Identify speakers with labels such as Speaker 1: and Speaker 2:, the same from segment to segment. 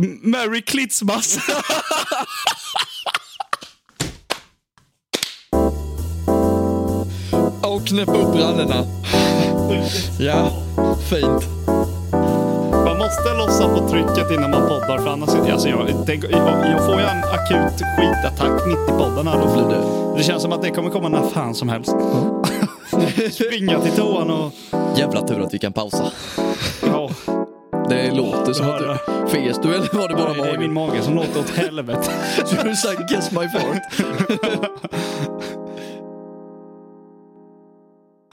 Speaker 1: Merry Klitsmas!
Speaker 2: Och knäppa upp brallorna. Ja, fint.
Speaker 1: Man måste lossa på trycket innan man poddar för annars... Alltså jag, tänk, jag, jag får ju en akut skitattack mitt i podden här då.
Speaker 2: Blir du?
Speaker 1: Det känns som att det kommer komma när fan som helst. Springa till toan och...
Speaker 2: Jävla tur att vi kan pausa.
Speaker 1: Ja,
Speaker 2: Det låter som att du... Fes du eller var det bara
Speaker 1: nej, det är min
Speaker 2: magen?
Speaker 1: mage som låter åt helvete.
Speaker 2: Du sa guess my fart.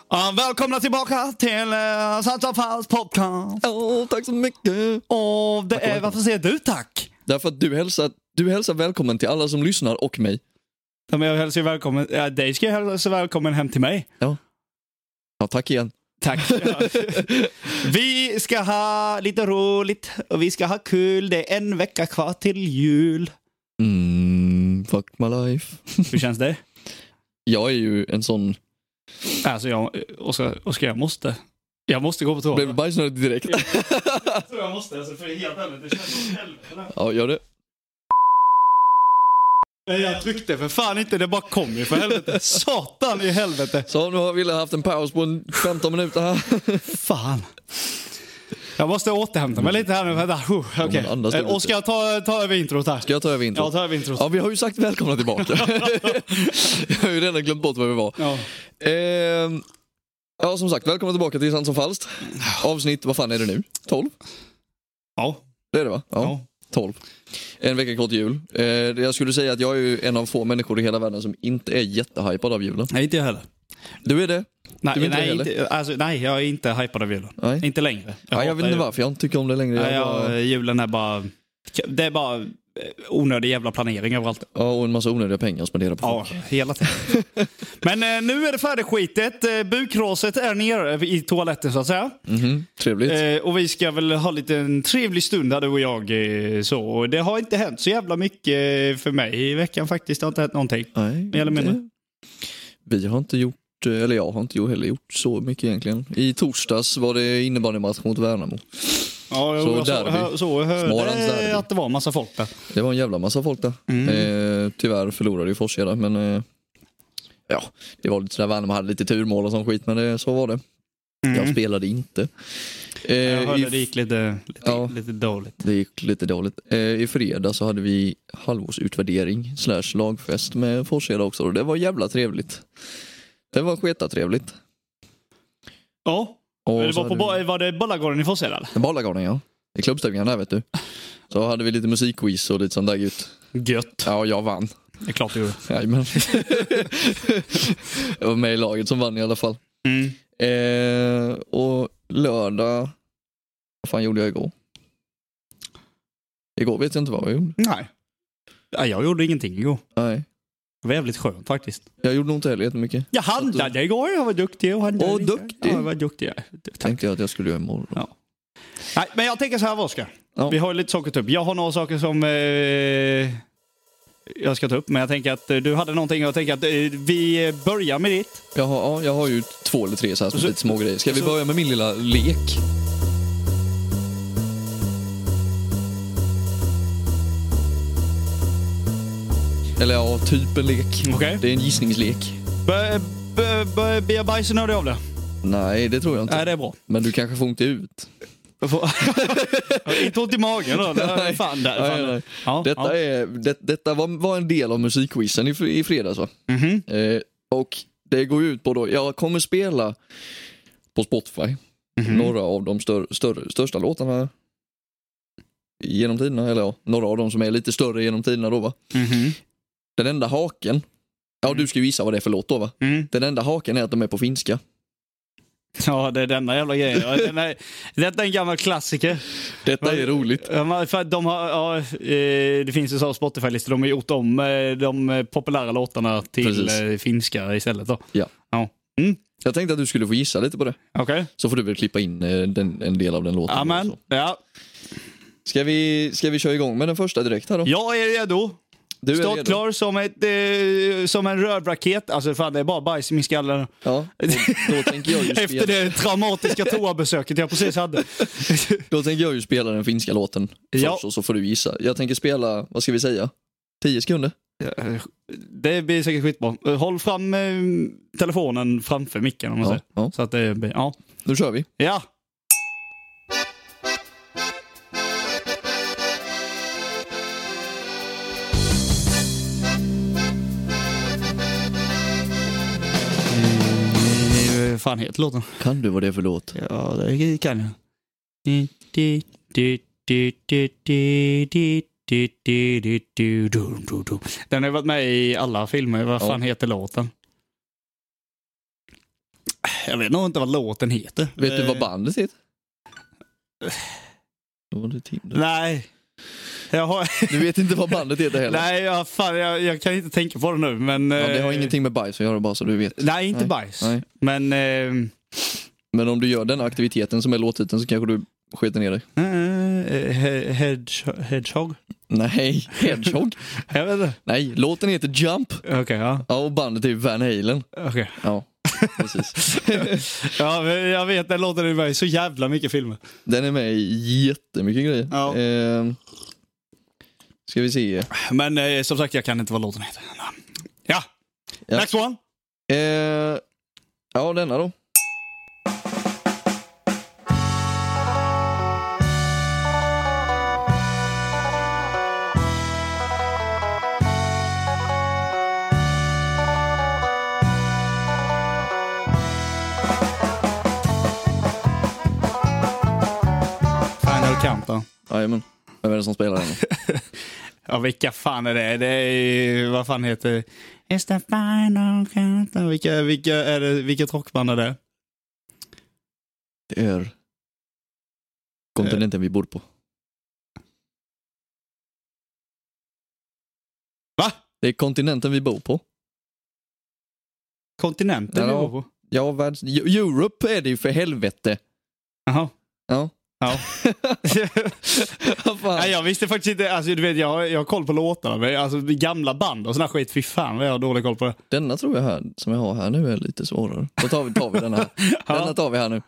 Speaker 1: Ja, välkomna tillbaka till uh, Sant och falskt podcast.
Speaker 2: Åh, tack så mycket.
Speaker 1: Och det är Varför säger du tack?
Speaker 2: Därför att du hälsar, du hälsar välkommen till alla som lyssnar och mig.
Speaker 1: Ja, men jag hälsar ju välkommen... Ja, dig ska jag hälsa välkommen hem till mig.
Speaker 2: Ja, tack igen.
Speaker 1: Tack. vi ska ha lite roligt och vi ska ha kul. Det är en vecka kvar till jul.
Speaker 2: Mm, fuck my life.
Speaker 1: Hur känns det?
Speaker 2: Jag är ju en sån...
Speaker 1: Alltså jag, Oskar, Oskar, jag måste. Jag måste gå på toa.
Speaker 2: Blev du bajsnödig direkt?
Speaker 1: Jag tror jag måste, alltså, för helt ärligt, det känns som helvete.
Speaker 2: Ja, gör det.
Speaker 1: Nej, jag tryckte för fan inte, det bara kom ju för helvete. Satan i helvete.
Speaker 2: Så nu har Wille haft en paus på en 15 minuter här.
Speaker 1: Fan. Jag måste återhämta mig lite här nu. Vänta. Uh, okay.
Speaker 2: men andas
Speaker 1: eh,
Speaker 2: lite.
Speaker 1: Oskar, ta, ta över introt här.
Speaker 2: Ska jag ta över introt?
Speaker 1: Ja, ta över introt.
Speaker 2: Ja, vi har ju sagt välkomna tillbaka. jag har ju redan glömt bort var vi var.
Speaker 1: Ja.
Speaker 2: Ehm, ja, som sagt, välkomna tillbaka till Sant som falskt. Avsnitt, vad fan är det nu? 12?
Speaker 1: Ja.
Speaker 2: Det är det va?
Speaker 1: Ja.
Speaker 2: 12. En vecka kort till jul. Eh, jag skulle säga att jag är ju en av få människor i hela världen som inte är jättehypad av julen.
Speaker 1: Nej, inte jag heller.
Speaker 2: Du är det? Du är
Speaker 1: Nej,
Speaker 2: inte
Speaker 1: nej,
Speaker 2: det heller?
Speaker 1: inte, alltså, nej, jag är inte hypad av julen.
Speaker 2: Nej.
Speaker 1: Inte längre.
Speaker 2: Jag, jag
Speaker 1: hatar
Speaker 2: vet inte
Speaker 1: julen.
Speaker 2: varför jag inte tycker om det längre.
Speaker 1: Nej,
Speaker 2: Jag bara,
Speaker 1: jag, julen är bara... Det är bara eh, onödig jävla planering överallt.
Speaker 2: ja, och en massa onödiga pengar att spendera på
Speaker 1: Ja, hela tiden. Men eh, nu är det färdigskitet. Eh, bukraset är nere i toaletten så att säga.
Speaker 2: Mhm, Trevligt.
Speaker 1: Eh, och vi ska väl ha lite en trevlig stund här du och jag. Eh, så. Och det har inte hänt så jävla mycket eh, för mig i veckan faktiskt. Det har inte hänt någonting.
Speaker 2: Nej,
Speaker 1: mer eller mindre.
Speaker 2: det- Vi har inte gjort, eh, eller jag har inte gjort- heller gjort så mycket egentligen. I torsdags var det innebandymatch mot Värnamo.
Speaker 1: Ja,
Speaker 2: Så
Speaker 1: så jag så,
Speaker 2: derby.
Speaker 1: hör, så
Speaker 2: Smålands derby.
Speaker 1: hörde att det var en massa folk där.
Speaker 2: Det var en jävla massa folk där.
Speaker 1: Mm.
Speaker 2: Eh, tyvärr förlorade ju Forsheda, men eh, ja, det var lite sådär Värnamo hade lite turmål och sån skit, men det, så var det. Jag spelade inte. Eh,
Speaker 1: Mm. Jag
Speaker 2: i
Speaker 1: hörde
Speaker 2: f-
Speaker 1: det gick lite, lite,
Speaker 2: Ja.
Speaker 1: lite dåligt.
Speaker 2: det gick lite dåligt. Eh, I fredag så hade vi halvårsutvärdering slash lagfest med Forsheda också och det var jävla trevligt. Det var sketa trevligt.
Speaker 1: Ja. det var, på, ba- var det Ballagården i Forshäll eller?
Speaker 2: Balagården ja. I klubbstugan där vet du. Så hade vi lite musikquiz och lite sånt där gud.
Speaker 1: Gött.
Speaker 2: Ja, jag vann.
Speaker 1: Det är klart du gjorde.
Speaker 2: Jajamän. jag var med i laget som vann i alla fall.
Speaker 1: Mm.
Speaker 2: Eh, och lördag, vad fan gjorde jag igår? Igår vet jag inte vad jag gjorde.
Speaker 1: Nej. Ja, jag gjorde ingenting igår.
Speaker 2: Nej,
Speaker 1: Det var jävligt skönt faktiskt.
Speaker 2: jag gjorde nog inte heller jättemycket.
Speaker 1: Jag handlade igår. Jag var duktig. Och handlade
Speaker 2: Åh,
Speaker 1: lite.
Speaker 2: duktig.
Speaker 1: Ja, jag var duktig. Tack.
Speaker 2: Tänkte jag att jag skulle göra imorgon.
Speaker 1: Ja. Nej, men jag tänker så här, Oskar.
Speaker 2: Ja.
Speaker 1: Vi har ju lite saker att ta upp. Jag har några saker som eh, jag ska ta upp, men jag tänker att eh, du hade någonting och jag tänker att eh, vi börjar med ditt.
Speaker 2: Jag, har, ja, jag har ju två eller tre så här små,
Speaker 1: Så-
Speaker 2: lite små grejer. Ska vi
Speaker 1: så-
Speaker 2: börja med min lilla lek? Eller ja, typ en lek.
Speaker 1: Okej.
Speaker 2: Det är en gissningslek.
Speaker 1: B- b- b- Blir jag bajsnödig av det?
Speaker 2: Nej, det tror jag inte.
Speaker 1: Nej, det är bra.
Speaker 2: Men du kanske får ont i huvudet.
Speaker 1: Jag får- Jag har Inte ont i magen då. Nej. Fan, där, fan.
Speaker 2: Nej, nej.
Speaker 1: Ja,
Speaker 2: Detta,
Speaker 1: ja.
Speaker 2: är, det, detta var, var en del av musikquizen i, fr- i fredags. Va?
Speaker 1: Mhm.
Speaker 2: Eh, och det går ju ut på då, jag kommer spela på Spotify några av de stör, större, största låtarna genom tiderna, eller ja, några av de som är lite större genom tiderna då va.
Speaker 1: Mhm.
Speaker 2: Den enda haken, ja du ska ju gissa vad det är för låt då va.
Speaker 1: Mm.
Speaker 2: Den enda haken är att de är på finska.
Speaker 1: Ja, det är denna jävla grejen. Ja, den är- Detta är en gammal klassiker.
Speaker 2: Detta
Speaker 1: Men-
Speaker 2: är roligt.
Speaker 1: Ja, men för att de har, ja, eh, det finns ju sådana Spotify-listor. De har gjort om eh, de eh, populära låtarna till
Speaker 2: Precis.
Speaker 1: eh, finska istället. Då.
Speaker 2: Ja.
Speaker 1: Ja.
Speaker 2: Jag tänkte att du skulle få gissa lite på det.
Speaker 1: Okej.
Speaker 2: Så får du väl klippa in eh, den, en del av den låten. då,
Speaker 1: Amen.
Speaker 2: så.
Speaker 1: Ja.
Speaker 2: Ska, vi, ska vi köra igång med den första direkt här då?
Speaker 1: Jag är redo.
Speaker 2: Du är
Speaker 1: Stått
Speaker 2: redo.
Speaker 1: klar som, ett, eh, som en rödraket. Alltså fan, det är bara bajs i min skalle.
Speaker 2: Ja, då, då tänker jag ju spela,
Speaker 1: Efter det traumatiska toabesöket jag precis hade.
Speaker 2: Då tänker jag ju spela den finska låten
Speaker 1: Ja.
Speaker 2: först och så får du gissa. Jag tänker spela, vad ska vi säga? 10 sekunder?
Speaker 1: Det blir säkert skitbra. Håll fram eh, telefonen framför micken om man
Speaker 2: Ja,
Speaker 1: säger.
Speaker 2: ja.
Speaker 1: Så att det blir, ja.
Speaker 2: Nu kör vi.
Speaker 1: Ja. Eh, Vad fan heter låten?
Speaker 2: Kan du vad det är för låt?
Speaker 1: Ja, det kan jag. Den har varit med i alla filmer. Vad
Speaker 2: Ja.
Speaker 1: fan heter låten? Jag vet nog inte vad låten heter.
Speaker 2: Vet du vad
Speaker 1: Eh,
Speaker 2: bandet heter? Då var det Tinder.
Speaker 1: Eh, Nej. Jag har...
Speaker 2: Du vet inte vad bandet heter heller?
Speaker 1: Nej, jag, fan, jag, jag kan inte tänka på det nu. Men,
Speaker 2: Ja, det har
Speaker 1: eh,
Speaker 2: ingenting med bajs att göra bara så du vet.
Speaker 1: Nej, inte
Speaker 2: Nej.
Speaker 1: bajs.
Speaker 2: Nej.
Speaker 1: Men... Eh,
Speaker 2: Men om du gör den aktiviteten som är låttiteln så kanske du skiter ner dig.
Speaker 1: eh, he- hedge- hedgehog?
Speaker 2: Nej, Hedgehog.
Speaker 1: Jag vet inte.
Speaker 2: Nej, låten heter Jump.
Speaker 1: Okej, ja.
Speaker 2: Ja, och bandet är Van Halen.
Speaker 1: Okej.
Speaker 2: Ja, precis.
Speaker 1: Ja, men jag vet, den låten är med i så jävla mycket filmer.
Speaker 2: Den är med i jättemycket grejer.
Speaker 1: Ja.
Speaker 2: Ehm, ska vi se.
Speaker 1: Men eh, som sagt, jag kan inte vad låten heter. Ja,
Speaker 2: Ja.
Speaker 1: next one.
Speaker 2: Eh, ja, denna då.
Speaker 1: Final Countdown.
Speaker 2: Jajamän. Vem är det som spelar den? då?
Speaker 1: Ja, vilka fan är det? Det är ju- vad fan heter... It's the final countdown. Vilka, vilka är det, vilket rockband är det?
Speaker 2: Det är kontinenten vi bor på.
Speaker 1: Va?
Speaker 2: Det är kontinenten vi bor på.
Speaker 1: Kontinenten?
Speaker 2: Ja.
Speaker 1: vi bor på.
Speaker 2: Ja, världs... Eu- Europe är det ju för helvete.
Speaker 1: Jaha.
Speaker 2: Ja.
Speaker 1: Ja.
Speaker 2: Vad fan?
Speaker 1: Nej, jag visste faktiskt inte. Alltså, du vet, jag, har- jag har koll på låtarna, men alltså, gamla band och sån här skit, fy fan vad jag har dålig koll på det.
Speaker 2: Denna tror jag här, som jag har här nu är lite svårare. Då tar vi, tar vi denna här. Denna tar vi här nu.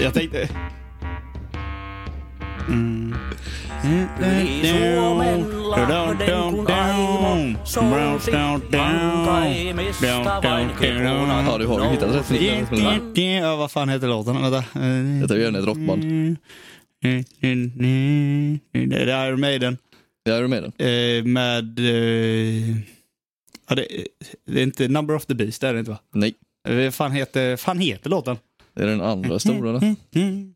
Speaker 1: Jag tänkte... Mm.
Speaker 3: Yli Suomen lahden kun aimo, sousi lankaimista vain kekuna.
Speaker 2: Ja, du har ju hittat rätt sida.
Speaker 1: Ja, vad fan heter låten? Vänta.
Speaker 2: Jag tror jag är ett rockband.
Speaker 1: Det är Iron Maiden.
Speaker 2: Ja, Är du med den?
Speaker 1: eh, Med... eh, Ja, det, det är inte Number of the Beast, det är det inte va?
Speaker 2: Nej,
Speaker 1: Eh, Vad fan heter, fan heter låten?
Speaker 2: det är den andra stora.
Speaker 1: mm,
Speaker 2: där.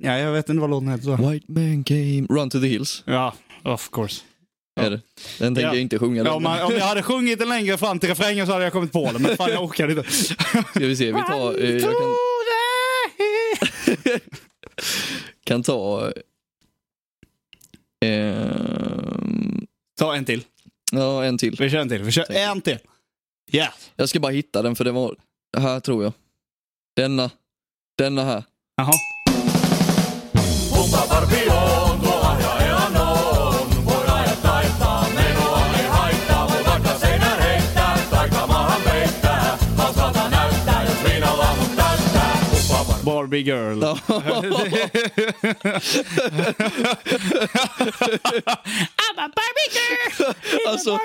Speaker 1: Ja, jag vet inte vad låten heter. Så.
Speaker 2: White man came, run to the hills.
Speaker 1: Ja, of course.
Speaker 2: Är det. Den tänker
Speaker 1: Ja.
Speaker 2: jag inte sjunga.
Speaker 1: Ja,
Speaker 2: den.
Speaker 1: om, man, om jag hade sjungit den längre fram till refrängen så hade jag kommit på den, men fan jag orkade inte.
Speaker 2: Ska vi se, vi tar... Eh, jag kan, kan ta... Eh, ehm,
Speaker 1: Ta en till.
Speaker 2: ja, en till.
Speaker 1: Vi kör en till. Vi kör en till. Ja.
Speaker 2: Jag ska bara hitta den för det var... Här tror jag. Denna. Denna här.
Speaker 1: Jaha. Barbie girl.
Speaker 2: Ja.
Speaker 3: I'm a Barbie girl!
Speaker 2: Alltså,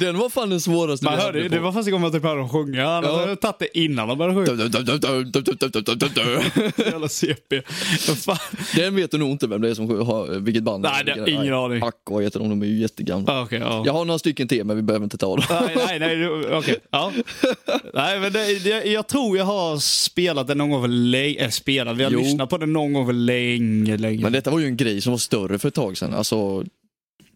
Speaker 2: den var fan den svåraste
Speaker 1: Man hörde, ju- det var första gången man typ hörde dem sjunga. Han
Speaker 2: Ja.
Speaker 1: hade tagit det innan de började sjunga. Jävla CP. Fan.
Speaker 2: Den vet du nog inte vem det är som sjunger, har- vilket band.
Speaker 1: Nej, det har ingen aning.
Speaker 2: Aqua heter de, de är ju jättegamla.
Speaker 1: Ah, Okej, ja.
Speaker 2: Jag har några stycken till men vi behöver inte ta dem.
Speaker 1: Nej, nej, nej, du- okej. Ja. Nej, men det, det, jag tror jag har spelat den någon gång för länge. Äh, spelat, vi har
Speaker 2: Jo.
Speaker 1: lyssnat på den någon gång för länge, länge.
Speaker 2: Men detta var ju en grej som var större för ett tag sedan. Alltså,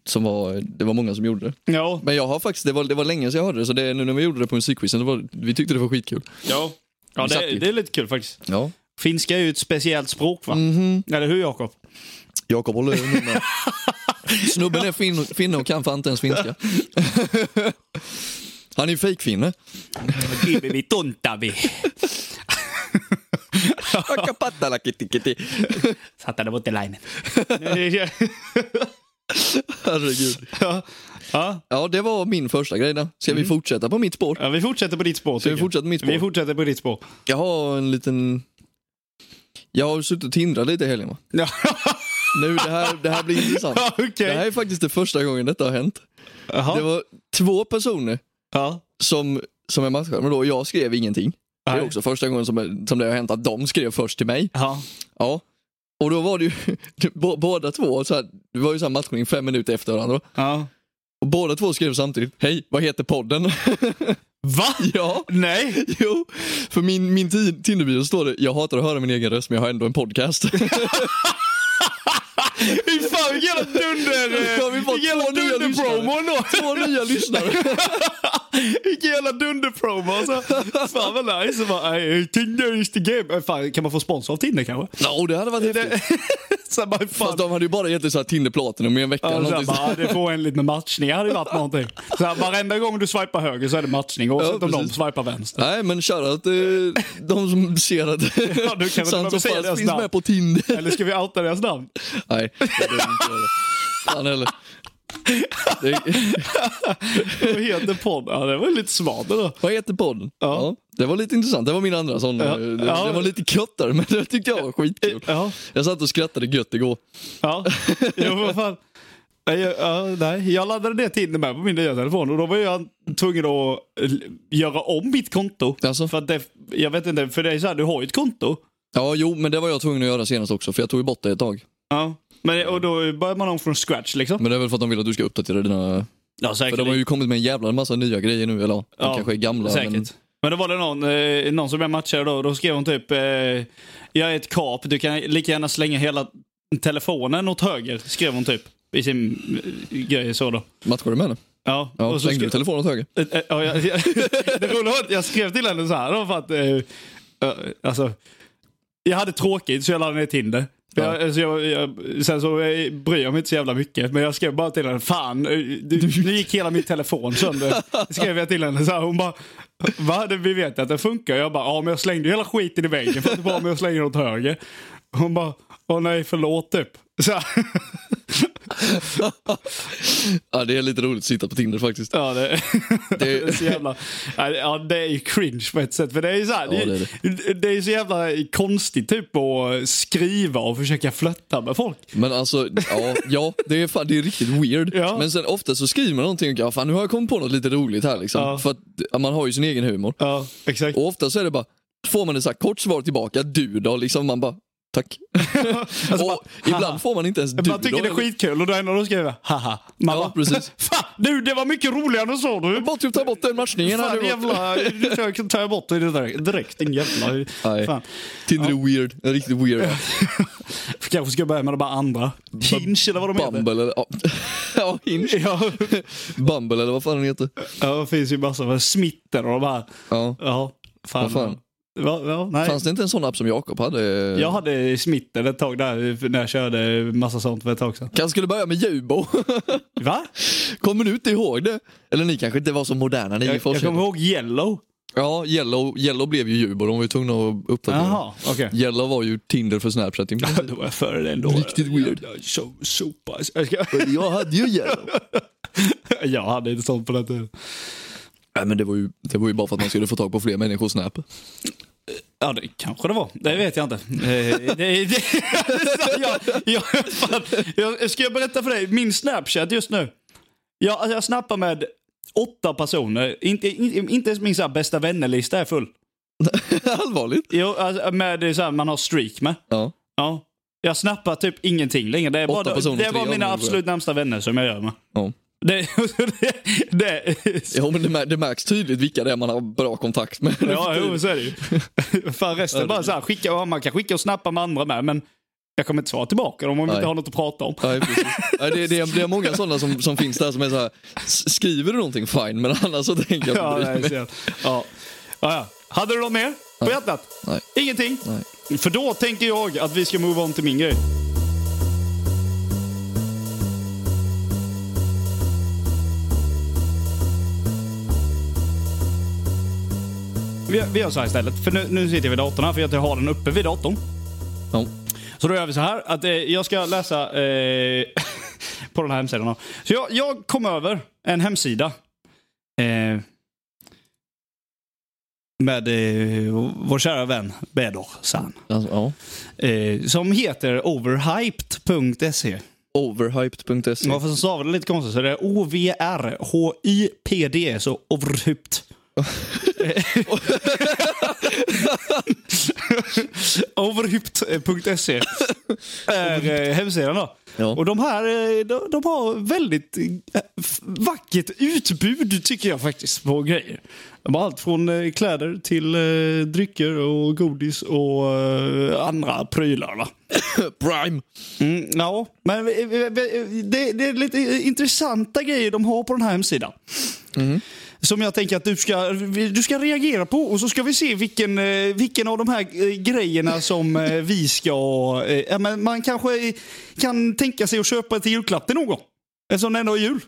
Speaker 2: som var, det var många som gjorde det.
Speaker 1: Ja,
Speaker 2: Men jag har faktiskt, det var, det var länge sedan jag hörde det, så det, nu när vi gjorde det på musikquizen, det var, vi tyckte det var skitkul.
Speaker 1: ja. ja
Speaker 2: Vi satt
Speaker 1: det,
Speaker 2: ju.
Speaker 1: det är lite kul faktiskt.
Speaker 2: Ja.
Speaker 1: Finska är ju ett speciellt språk, va?
Speaker 2: Mhm.
Speaker 1: Eller hur, Jakob?
Speaker 2: Jakob håller över munnen. Snubben är fin, finne och kan fan inte ens finska. Han är fejkfinne.
Speaker 1: Gibi vi tuntavi.
Speaker 2: Akapattala kitti kitti.
Speaker 3: Satte det mot Elaine.
Speaker 2: Herregud.
Speaker 1: ja. Ja.
Speaker 2: Ja, det var min första grej där. Ska vi fortsätta på mitt spår?
Speaker 1: ja, vi fortsätter på ditt spår.
Speaker 2: Ska Mm.
Speaker 1: tycker
Speaker 2: vi
Speaker 1: jag.
Speaker 2: fortsätta på mitt
Speaker 1: Vi
Speaker 2: spår?
Speaker 1: fortsätter på ditt spår.
Speaker 2: Jag har en liten... Jag har suttit och tindrat lite i helgen va?
Speaker 1: Ja,
Speaker 2: Nu, det här, det här blir intressant.
Speaker 1: Okej.
Speaker 2: Det här är faktiskt det första gången detta har hänt.
Speaker 1: Jaha.
Speaker 2: Det var två personer
Speaker 1: Ja.
Speaker 2: som, som är matchskärmar då. Jag skrev ingenting. Det är
Speaker 1: Nej.
Speaker 2: också första gången som, som det har hänt att de skrev först till mig.
Speaker 1: Ja.
Speaker 2: Ja. Och då var det ju bå- båda två, så här, det var ju så här matchning fem minuter efter varandra.
Speaker 1: ja.
Speaker 2: Och båda två skrev samtidigt, hej, vad heter podden?
Speaker 1: Va?
Speaker 2: ja,
Speaker 1: Nej.
Speaker 2: jo. För min, min ti- Tinderbio står det, jag hatar att höra min egen röst men jag har ändå en podcast.
Speaker 1: Fy fan vilken jävla dunder... eh,
Speaker 2: Då har vi fått
Speaker 1: Vilken jävla
Speaker 2: två nya
Speaker 1: dunderpromo
Speaker 2: lyssnare.
Speaker 1: ändå.
Speaker 2: Två nya lyssnare.
Speaker 1: Vilken jävla dunderpromo alltså. Fan vad nice. Bara, "Hey, Tinder is the game. Äh, Fan, kan man få sponsor av Tinder kanske?
Speaker 2: Ja, och det hade varit häftigt.
Speaker 1: Så här, bara, fan.
Speaker 2: Fast de hade ju bara gett dig så här Tinder Platinum i en vecka.
Speaker 1: Ja,
Speaker 2: eller
Speaker 1: så här,
Speaker 2: någonting.
Speaker 1: bara, det får en liten matchning hade ju varit någonting. Så här, varenda gång du swipar höger så är det matchning oavsett om de
Speaker 2: precis.
Speaker 1: swipar vänster.
Speaker 2: Nej, men shoutout eh, de som ser att
Speaker 1: Ja, du kanske inte
Speaker 2: Sans
Speaker 1: behöver
Speaker 2: och
Speaker 1: säga
Speaker 2: Fals
Speaker 1: deras
Speaker 2: finns
Speaker 1: namn.
Speaker 2: med på Tinder.
Speaker 1: Eller ska vi outa deras namn?
Speaker 2: Nej, det är inte det. Fan heller. Det,
Speaker 1: Vad heter podden? Ja, det var lite smart då.
Speaker 2: vad heter podden?
Speaker 1: Ja.
Speaker 2: det var lite intressant. Det var min andra sån.
Speaker 1: Ja.
Speaker 2: eh, Det,
Speaker 1: Ja.
Speaker 2: det var lite köttare, men det tyckte jag var skitkul.
Speaker 1: Ja,
Speaker 2: Jag satt och skrattade gött igår.
Speaker 1: ja. Jo, vad fan. Nej, jag- ja, nej. Jag laddade ner Tinder med på min nya telefon och då var jag tvungen att l- göra om mitt konto.
Speaker 2: Alltså,
Speaker 1: För att det, jag vet inte, för det är så här, du har ju ett konto.
Speaker 2: ja, jo, men det var jag tvungen att göra senast också, för jag tog ju bort det ett tag.
Speaker 1: Ja. Men, och då börjar man om från scratch liksom.
Speaker 2: Men det är väl för att de vill att du ska uppdatera dina...
Speaker 1: Ja,
Speaker 2: För
Speaker 1: säkert.
Speaker 2: de har ju kommit med en jävla massa nya grejer nu, eller ja, de
Speaker 1: Ja,
Speaker 2: kanske är gamla.
Speaker 1: Säkert.
Speaker 2: Men...
Speaker 1: Men... då var det någon, eh, någon som jag matchade då, då skrev hon typ eh, Jag är ett kap, du kan lika gärna slänga hela telefonen åt höger, skrev hon typ. I sin eh, grej så då.
Speaker 2: Matchar du med henne?
Speaker 1: Ja,
Speaker 2: Ja,
Speaker 1: och så
Speaker 2: slängde du
Speaker 1: skrev,
Speaker 2: telefonen åt höger?
Speaker 1: eh, eh, ja, jag, jag, det roliga var att jag skrev till henne så här då för att, eh, eh, alltså, jag hade tråkigt så jag laddade ner Tinder.
Speaker 2: Ja.
Speaker 1: Jag, alltså, jag, jag, sen så eh, bryr jag mig inte så jävla mycket, men jag skrev bara till henne, fan, eh, du, nu gick hela min telefon sönder. Skrev jag till henne så här, hon bara, va? Det, vi vet att det funkar. Jag bara, ja men jag slängde ju hela skiten i väggen för att det var med att slänga den åt höger. Hon bara, åh nej förlåt typ. Så här,
Speaker 2: Ja, det är lite roligt att sitta på Tinder faktiskt.
Speaker 1: Ja, det, det... är så jävla... Ja, det är ju cringe på ett sätt. För det är ju så här, det,
Speaker 2: Ja, det
Speaker 1: är,
Speaker 2: är
Speaker 1: det. är ju så jävla konstigt typ att skriva och försöka flörta med folk.
Speaker 2: Men alltså, ja, ja det, är fan, det är riktigt weird.
Speaker 1: Ja.
Speaker 2: Men sen ofta så skriver man någonting och ja, fan nu har jag kommit på något lite roligt här liksom.
Speaker 1: Ja.
Speaker 2: För att ja, man har ju sin egen humor.
Speaker 1: Ja, exakt.
Speaker 2: Och ofta så är det bara, får man ett så här kort svar tillbaka, du då? Liksom man bara, tack. och ibland får man inte ens du
Speaker 1: Alltså, Man tycker
Speaker 2: då. liksom.
Speaker 1: det är skitkul och då är det någon som skriver haha. Man
Speaker 2: Ja,
Speaker 1: bara,
Speaker 2: precis.
Speaker 1: Fan, du det var mycket roligare än så du.
Speaker 2: Bara typ ta bort den matchningen här
Speaker 1: Fan
Speaker 2: nu.
Speaker 1: jävla, jag tar jag bort det där direkt din jävla...
Speaker 2: Nej.
Speaker 1: Fan.
Speaker 2: Tinder är weird, Det är riktigt weird.
Speaker 1: Kanske ska jag börja med de här andra. Hinge eller vad de heter.
Speaker 2: Bumble eller, ja, ja Hinge.
Speaker 1: Ja,
Speaker 2: Bumble eller vad fan den heter.
Speaker 1: ja, det finns ju massor med smitter och de här.
Speaker 2: Ja.
Speaker 1: Ja, fan.
Speaker 2: Vad fan?
Speaker 1: Va, va, nej.
Speaker 2: Fanns det inte en sån app som Jakob hade?
Speaker 1: Jag hade smitten ett tag där när jag körde massa sånt för ett tag sedan.
Speaker 2: Kanske skulle börja med Jubo.
Speaker 1: Va?
Speaker 2: Kommer du inte ihåg det? Eller ni kanske inte var så moderna ni
Speaker 1: Jag,
Speaker 2: i
Speaker 1: jag
Speaker 2: Forshaga.
Speaker 1: kommer ihåg yellow.
Speaker 2: Ja, Yellow, Yellow blev ju Jubo, de var ju tvungna att uppdatera.
Speaker 1: Jaha, okej.
Speaker 2: Yellow var ju Tinder för Snapchat. i princip.
Speaker 1: Då var jag före det ändå.
Speaker 2: Riktigt weird.
Speaker 1: Jag, jag, so, sopa. Jag, ska,
Speaker 2: jag hade ju Yellow.
Speaker 1: jag hade inte sånt på den tiden.
Speaker 2: Nej, men det var, ju, det var ju bara för att man skulle få tag på fler människor Snap.
Speaker 1: Ja, det kanske det var. Det vet jag inte. Eh, det, det, jag, jag, fan, jag, ska jag berätta för dig, min Snapchat just nu. Jag, alltså, jag snappar med åtta personer. Inte, in, inte ens min så här, bästa vännerlista är full.
Speaker 2: Allvarligt?
Speaker 1: Jo, alltså, med, så här, man har streak med.
Speaker 2: Ja.
Speaker 1: Ja. Jag snappar typ ingenting längre. Det är
Speaker 2: Åtta
Speaker 1: bara,
Speaker 2: personer,
Speaker 1: det är
Speaker 2: tre
Speaker 1: bara
Speaker 2: av
Speaker 1: mina
Speaker 2: dem, tror
Speaker 1: absolut närmsta vänner som jag gör med.
Speaker 2: Ja.
Speaker 1: Det, det, det,
Speaker 2: ja, men det, mär, det märks tydligt vilka det är man har bra kontakt med.
Speaker 1: ja, jo, så är det ju. Fan, resten är bara så här, skicka, ja, man kan skicka och snappa med andra med, men jag kommer inte svara tillbaka dem om vi
Speaker 2: Nej.
Speaker 1: inte har något att prata om.
Speaker 2: Nej, precis. Nej, det, det, är, det är många sådana som, som finns där som är så här. "S- skriver du någonting fine, men annars så tänker jag
Speaker 1: Ja,
Speaker 2: inte bry
Speaker 1: nej,
Speaker 2: mig.
Speaker 1: så, ja. Ja. ja. Hade du något mer på hjärtat?
Speaker 2: Nej.
Speaker 1: Ingenting?
Speaker 2: Nej.
Speaker 1: För då tänker jag att vi ska move on till min grej. vi, vi gör så här istället. För nu, nu sitter jag vid datorn här, för jag har den uppe vid datorn.
Speaker 2: Ja.
Speaker 1: Så då gör vi så här att eh, jag ska läsa eh, på den här hemsidan. då. Så jag, jag kom över en hemsida. Eh, med eh, vår kära vän Bedor San.
Speaker 2: Alltså, ja.
Speaker 1: Eh, som heter overhyped.se.
Speaker 2: Overhyped.se.
Speaker 1: Varför så stavar det lite konstigt så det är O-V-R-H-I-P-D. Så overhyped. Overhyped.se är eh, hemsidan då.
Speaker 2: Ja.
Speaker 1: Och de här eh, de, de har väldigt eh, f- vackert utbud tycker jag faktiskt på grejer. De har allt från eh, kläder till eh, drycker och godis och eh, andra prylar. Va?
Speaker 2: Prime.
Speaker 1: Mm, ja, men eh, eh, eh, det, det är lite eh, intressanta grejer de har på den här hemsidan. Som jag tänker att du ska, du ska reagera på och så ska vi se vilken, eh, vilken av de här eh, grejerna som eh, vi ska... eh, Ja, men man kanske kan tänka sig att köpa till julklapp till någon. Eftersom det ändå är jul.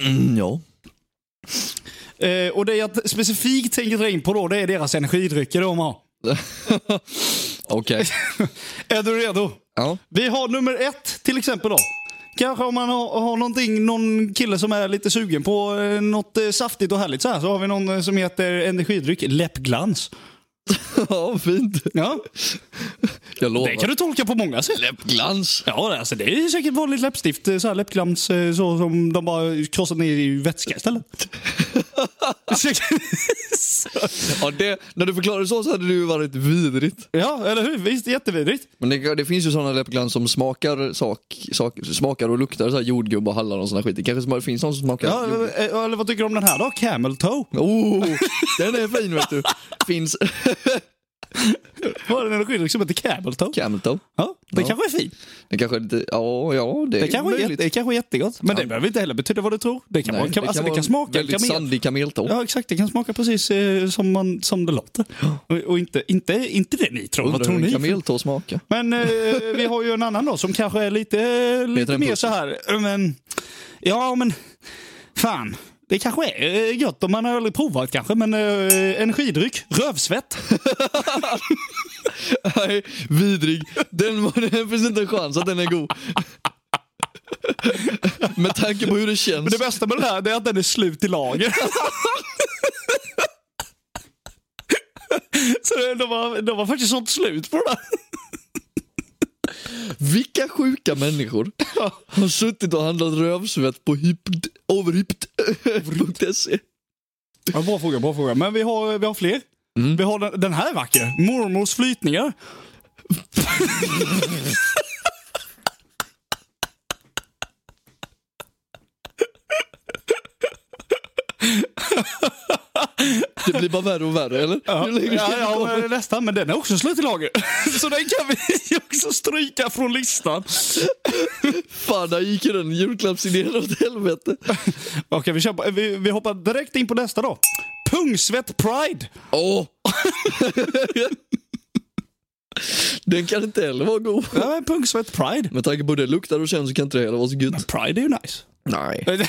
Speaker 2: Mm, ja.
Speaker 1: Eh, Och det jag specifikt tänker dra in på då, det är deras energidrycker de har.
Speaker 2: Okej.
Speaker 1: Är du redo?
Speaker 2: Ja.
Speaker 1: Vi har nummer ett till exempel då. Kanske om man har, har någonting, någon kille som är lite sugen på eh, något eh, saftigt och härligt så här. Så har vi någon eh, som heter energidryck läppglans.
Speaker 2: ja, fint.
Speaker 1: Ja,
Speaker 2: Jag lovar.
Speaker 1: det kan du tolka på många sätt.
Speaker 2: Glans.
Speaker 1: Ja, det- alltså det är säkert vanligt läppstift. eh, Så här läppglans eh, så som de bara krossar ner i vätska istället. Säkert-
Speaker 2: Ja, det, när du förklarade så så hade det ju varit vidrigt.
Speaker 1: ja, eller hur? Visst, jättevidrigt.
Speaker 2: Men det, det finns ju sådana läppglans som smakar, sak, sak, smakar och luktar så här jordgubb och hallon och såna skit. Det kanske sma- finns någon som smakar
Speaker 1: Ja,
Speaker 2: jordgubb.
Speaker 1: eller, eller vad tycker du om den här då? Camel toe?
Speaker 2: Oh, den är fin vet du. Finns
Speaker 1: Var det en energidryck som heter camel toe?
Speaker 2: Camel
Speaker 1: Ja, det
Speaker 2: Ja.
Speaker 1: kanske är fint.
Speaker 2: Det kanske är lite, ja, ja, det,
Speaker 1: Det
Speaker 2: är
Speaker 1: kanske, är, jätte-
Speaker 2: möjligt.
Speaker 1: det kanske är jättegott. Men
Speaker 2: Ja.
Speaker 1: det behöver inte heller betyda vad du tror. Det kan,
Speaker 2: Nej,
Speaker 1: vara- kan, alltså, det
Speaker 2: vara
Speaker 1: kan
Speaker 2: en
Speaker 1: smaka
Speaker 2: väldigt
Speaker 1: kamel.
Speaker 2: sandig kameltå.
Speaker 1: Ja, exakt. Det kan smaka precis eh, som, man, som det låter. Och, och inte, inte, inte det ni tror. Vad
Speaker 2: Undrar
Speaker 1: tror
Speaker 2: hur en
Speaker 1: ni?
Speaker 2: kameltå smakar.
Speaker 1: Men eh, vi har ju en annan då som kanske är lite, eh,
Speaker 2: Heter
Speaker 1: lite
Speaker 2: den
Speaker 1: mer
Speaker 2: Puss?
Speaker 1: så här. eh, Men, ja, men fan. Det kanske är eh, gött om man har aldrig provat kanske, men eh, energidryck, rövsvett.
Speaker 2: Nej, vidrig. Den, var- det finns inte en chans att den är god. Med tanke på hur det
Speaker 1: Men
Speaker 2: känns.
Speaker 1: det bästa med den här det är att den är slut i lager. Så de har, de har faktiskt sånt slut på den här.
Speaker 2: Vilka sjuka människor har suttit och handlat rövsvett på hypt, overhypt.se?
Speaker 1: Ja, bra fråga, bra fråga. Men vi har, vi har fler. Vi har den, den här är vacker. Mormors flytningar.
Speaker 2: Det blir bara värre och värre, eller?
Speaker 1: Ja,
Speaker 2: Ju längre
Speaker 1: ja,
Speaker 2: det
Speaker 1: ja,
Speaker 2: kommer.
Speaker 1: men nästan, men den är också slut i lager. Så den kan vi också stryka från listan.
Speaker 2: Fan, där gick ju den julklappsidén åt helvete.
Speaker 1: Okej, vi, köper, vi, vi hoppar direkt in på nästa då. Pungsvett Pride.
Speaker 2: Åh! den kan inte heller vara god.
Speaker 1: Ja, men Pungsvett Pride.
Speaker 2: Med tanke på hur det luktar och känns så kan inte det heller vara så gött.
Speaker 1: Pride är ju nice.
Speaker 2: Nej.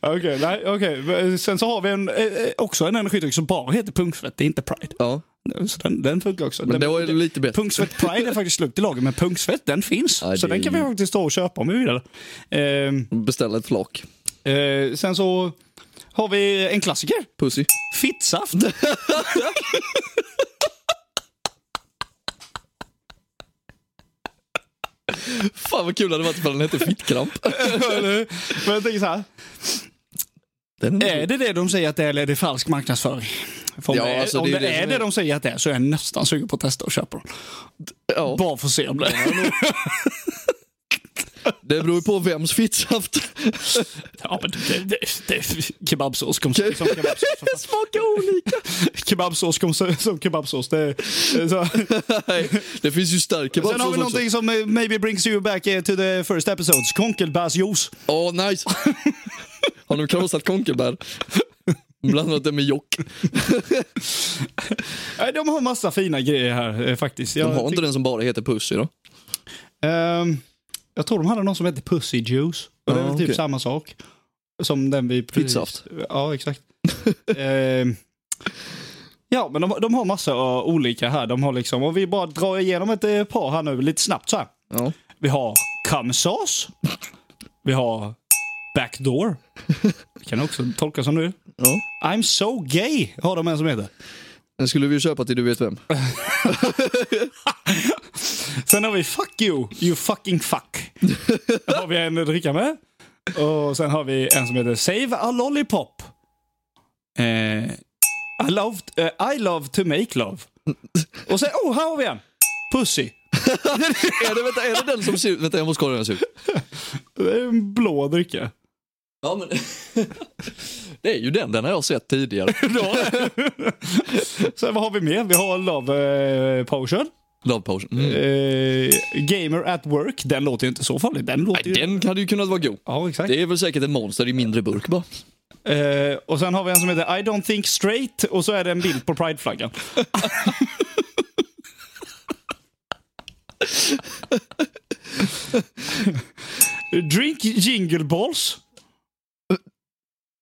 Speaker 1: Okej, nej, okej. Sen så har vi en, eh, eh, också en energidryck som bara heter punksvett. Det är inte Pride.
Speaker 2: Ja,
Speaker 1: Så den, den funkar också.
Speaker 2: men det
Speaker 1: den,
Speaker 2: var ju lite bättre.
Speaker 1: Punksvett Pride är faktiskt slut i lager, men punksvett den finns.
Speaker 2: Ja,
Speaker 1: så
Speaker 2: det är
Speaker 1: den kan vi
Speaker 2: ju-
Speaker 1: faktiskt ta och köpa om vi vill. Ehm,
Speaker 2: Beställa ett flak.
Speaker 1: eh, sen så har vi en klassiker.
Speaker 2: Pussy.
Speaker 1: Fittsaft.
Speaker 2: Fan vad kul det hade varit ifall den hette fittkramp.
Speaker 1: men jag tänker så här.
Speaker 2: Den är
Speaker 1: Är det det de säger att det är eller är det falsk marknadsföring? För om
Speaker 2: Ja,
Speaker 1: det, är-
Speaker 2: alltså,
Speaker 1: om det,
Speaker 2: det är det
Speaker 1: är
Speaker 2: som
Speaker 1: det
Speaker 2: är-
Speaker 1: de säger att det är så är jag nästan sugen på att testa och köpa dem.
Speaker 2: ja,
Speaker 1: Bara för att se om det
Speaker 2: det beror ju på vems fittsaft.
Speaker 1: Ja, men det, det, det, kebabsås kom, som kebabsås.
Speaker 2: Smakar olika.
Speaker 1: Kebabsås kom som, som kebabsås. Det, så.
Speaker 2: Nej, det finns ju stark
Speaker 1: Sen har
Speaker 2: kebabsås
Speaker 1: vi
Speaker 2: också.
Speaker 1: någonting som eh, maybe brings you back eh, to the first episodes. Konkelbärsjuice.
Speaker 2: Åh, nice. Har de krossat konkelbär? Blandat det med jock.
Speaker 1: Nej, Eh, De har massa fina grejer här eh, faktiskt. Jag,
Speaker 2: De har inte
Speaker 1: tyck-
Speaker 2: den som bara heter Pussy då?
Speaker 1: Ehm, jag tror de hade någon som hette Pussy Juice. Och det är
Speaker 2: Ja,
Speaker 1: väl typ
Speaker 2: okej.
Speaker 1: samma sak. Som den vi precis...
Speaker 2: Pizzahaft.
Speaker 1: Ja, exakt. Ehm, ja, men de, de har massa eh, olika här. De har liksom, och vi bara drar igenom ett eh, par här nu lite snabbt så här.
Speaker 2: Ja.
Speaker 1: Vi har kamsas. Vi har backdoor. Det kan också tolkas som du vill.
Speaker 2: ja.
Speaker 1: I'm so gay har de en som heter.
Speaker 2: Den skulle vi ju köpa till du vet vem.
Speaker 1: Sen har vi fuck you, you fucking fuck. Sen har vi en att dricka med. Och sen har vi en som heter save a lollipop. Eh, I, love, eh, I love to make love. Och sen, oh, här har vi en. Pussy.
Speaker 2: är, det, vänta, är det den som ser ut... Vänta, jag måste kolla hur den ser ut.
Speaker 1: Det är en blå dricka.
Speaker 2: Ja, men... det är ju den, den har jag sett tidigare.
Speaker 1: Sen vad har vi mer? Vi har love eh, potion.
Speaker 2: Love potion. Mm.
Speaker 1: Eh, gamer at work. Den låter ju inte så farlig. Den låter
Speaker 2: Nej,
Speaker 1: ju...
Speaker 2: den hade ju kunnat vara god.
Speaker 1: Ja, exakt.
Speaker 2: Det är väl säkert ett monster i mindre burk bara.
Speaker 1: Eh, och sen har vi en som heter I don't think straight och så är det en bild på prideflaggan. Drink jingle balls.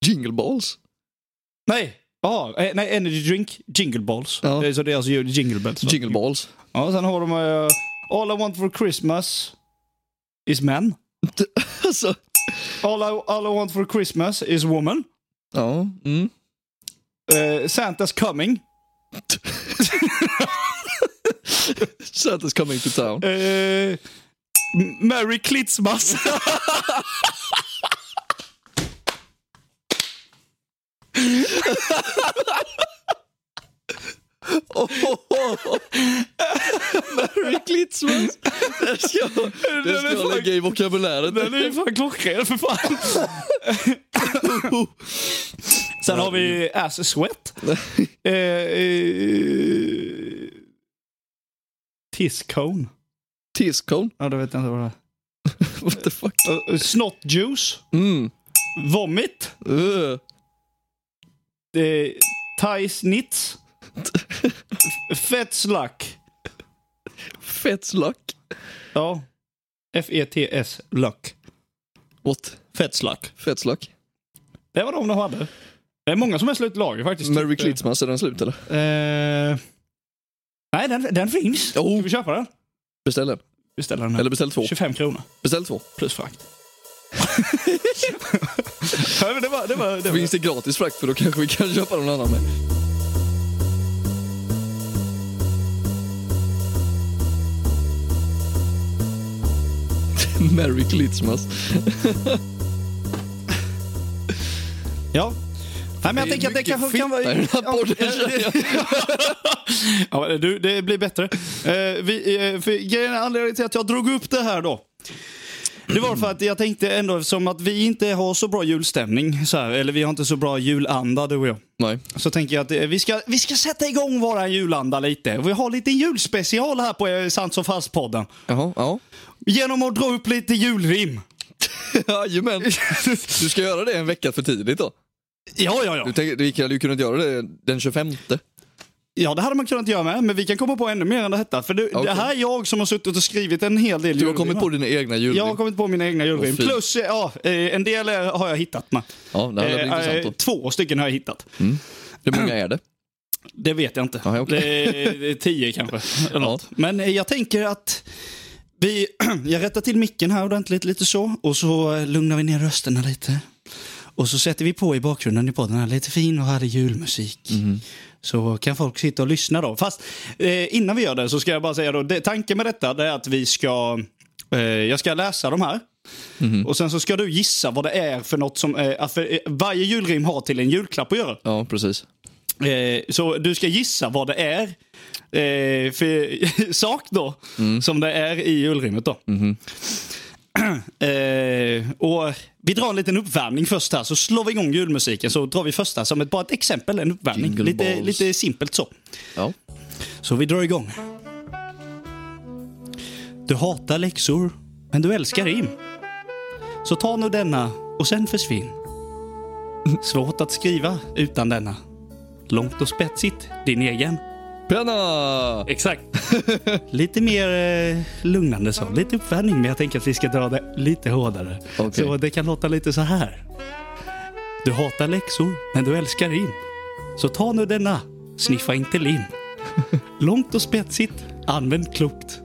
Speaker 2: Jingle balls.
Speaker 1: Nej. Ja, eh, nej, energy drink, jingle balls.
Speaker 2: Ja.
Speaker 1: Eh, Så det är alltså jingle bells. va?
Speaker 2: Jingle balls.
Speaker 1: Ja, sen har de eh, All I want for Christmas is men.
Speaker 2: Alltså.
Speaker 1: All I, all I want for Christmas is woman.
Speaker 2: Ja. Mm.
Speaker 1: Eh, Santa's coming.
Speaker 2: Santa's coming to town.
Speaker 1: Eh, M- Merry Klitsmas.
Speaker 2: Merry Klitsmas. Mm. Det ska, jag- det ska jag lägga i vokabuläret.
Speaker 1: Den är ju fan klockren för fan. Sen har vi Ass Sweat. Eh, eh, Tiscone.
Speaker 2: Tiscone.
Speaker 1: Ja, det vet jag inte vad det
Speaker 2: What the fuck?
Speaker 1: är. Eh, Snot Juice.
Speaker 2: Mm.
Speaker 1: Vomit.
Speaker 2: Uh.
Speaker 1: Eh, Thai Snits. Fett Slack.
Speaker 2: Fett luck.
Speaker 1: Ja. F-E-T-S Luck.
Speaker 2: What?
Speaker 1: Fett Slack.
Speaker 2: Fett luck.
Speaker 1: Typ, Det var de de hade. Det är många som är slut lager faktiskt.
Speaker 2: Merry
Speaker 1: Typ, eh,
Speaker 2: Klitsmas, är den slut eller?
Speaker 1: Eh, nej, den, den finns.
Speaker 2: Jo.
Speaker 1: Ska vi köpa den?
Speaker 2: Beställ den.
Speaker 1: Beställa den.
Speaker 2: Eller beställ två.
Speaker 1: 25 kronor
Speaker 2: Beställ två.
Speaker 1: plus frakt. Ja, men det var, det var, det var.
Speaker 2: Finns det gratis frakt för då kanske vi kan köpa någon annan med. Merry Klitsmas.
Speaker 1: Ja. Nej, men jag
Speaker 2: Det är
Speaker 1: tänker att det
Speaker 2: mycket
Speaker 1: kanske kan vara...
Speaker 2: fitta i den här podden, känner jag.
Speaker 1: Ja, men du, det blir bättre. Eh, vi, eh, för grejen är anledningen till att jag drog upp det här då. Det var för att jag tänkte ändå, eftersom att vi inte har så bra julstämning, så här, eller vi har inte så bra julanda du och jag.
Speaker 2: Nej.
Speaker 1: Så tänker jag att eh, vi ska, vi ska sätta igång våran julanda lite. Vi har lite julspecial här på eh, Sant som fast-podden.
Speaker 2: Jaha, ja.
Speaker 1: Genom att dra upp lite julrim.
Speaker 2: Jajamän. Du ska göra det en vecka för tidigt då?
Speaker 1: Ja, ja, ja.
Speaker 2: Du tänker, vi hade ju kunnat göra det den 25.
Speaker 1: Ja, det hade man kunnat göra med, men vi kan komma på ännu mer än detta. För det, det
Speaker 2: Okej.
Speaker 1: här är jag som har suttit och skrivit en hel del
Speaker 2: Du har
Speaker 1: julrim
Speaker 2: kommit
Speaker 1: här.
Speaker 2: på dina egna julrim.
Speaker 1: Jag har kommit på mina egna julrim.
Speaker 2: Åh, fy.
Speaker 1: Plus, eh, ja, eh, en del eh, har jag hittat med.
Speaker 2: Ja, det här blir
Speaker 1: Eh, eh,
Speaker 2: intressant då.
Speaker 1: två stycken har jag hittat.
Speaker 2: Hur många är det?
Speaker 1: Det vet jag inte.
Speaker 2: Ja, okej.
Speaker 1: det, är, det är tio kanske. Eller
Speaker 2: Ja.
Speaker 1: något. Men eh, jag tänker att vi, jag rättar till micken här ordentligt lite så. Och så eh, lugnar vi ner rösterna lite. Och så sätter vi på i bakgrunden i podden här lite fin och härlig julmusik. Så kan folk sitta och lyssna då. Fast eh, innan vi gör det så ska jag bara säga då. Det, tanken med detta det är att vi ska, eh, jag ska läsa de här. Och sen så ska du gissa vad det är för något som, eh, att för, eh, varje julrim har till en julklapp att göra.
Speaker 2: Ja, precis.
Speaker 1: Eh, så du ska gissa vad det är eh, för sak då,
Speaker 2: Mm.
Speaker 1: som det är i julrimmet. Då.
Speaker 2: Mm-hmm.
Speaker 1: Eh, och vi drar en liten uppvärmning först här, så slår vi igång julmusiken. Så drar vi första som ett, bara ett exempel, en uppvärmning.
Speaker 2: Jingle
Speaker 1: Lite,
Speaker 2: balls.
Speaker 1: lite simpelt så.
Speaker 2: Ja.
Speaker 1: Så vi drar igång. Du hatar läxor, men du älskar rim. Så ta nu denna och sen försvinn. Svårt att skriva utan denna. Långt och spetsigt, din egen.
Speaker 2: Penna!
Speaker 1: Exakt. lite mer eh, lugnande så. Lite uppvärmning, men jag tänker att vi ska dra det lite hårdare.
Speaker 2: Okej.
Speaker 1: Så det kan låta lite så här. Du hatar läxor, men du älskar rim. Så ta nu denna, sniffa inte lim. Långt och spetsigt, använd klokt.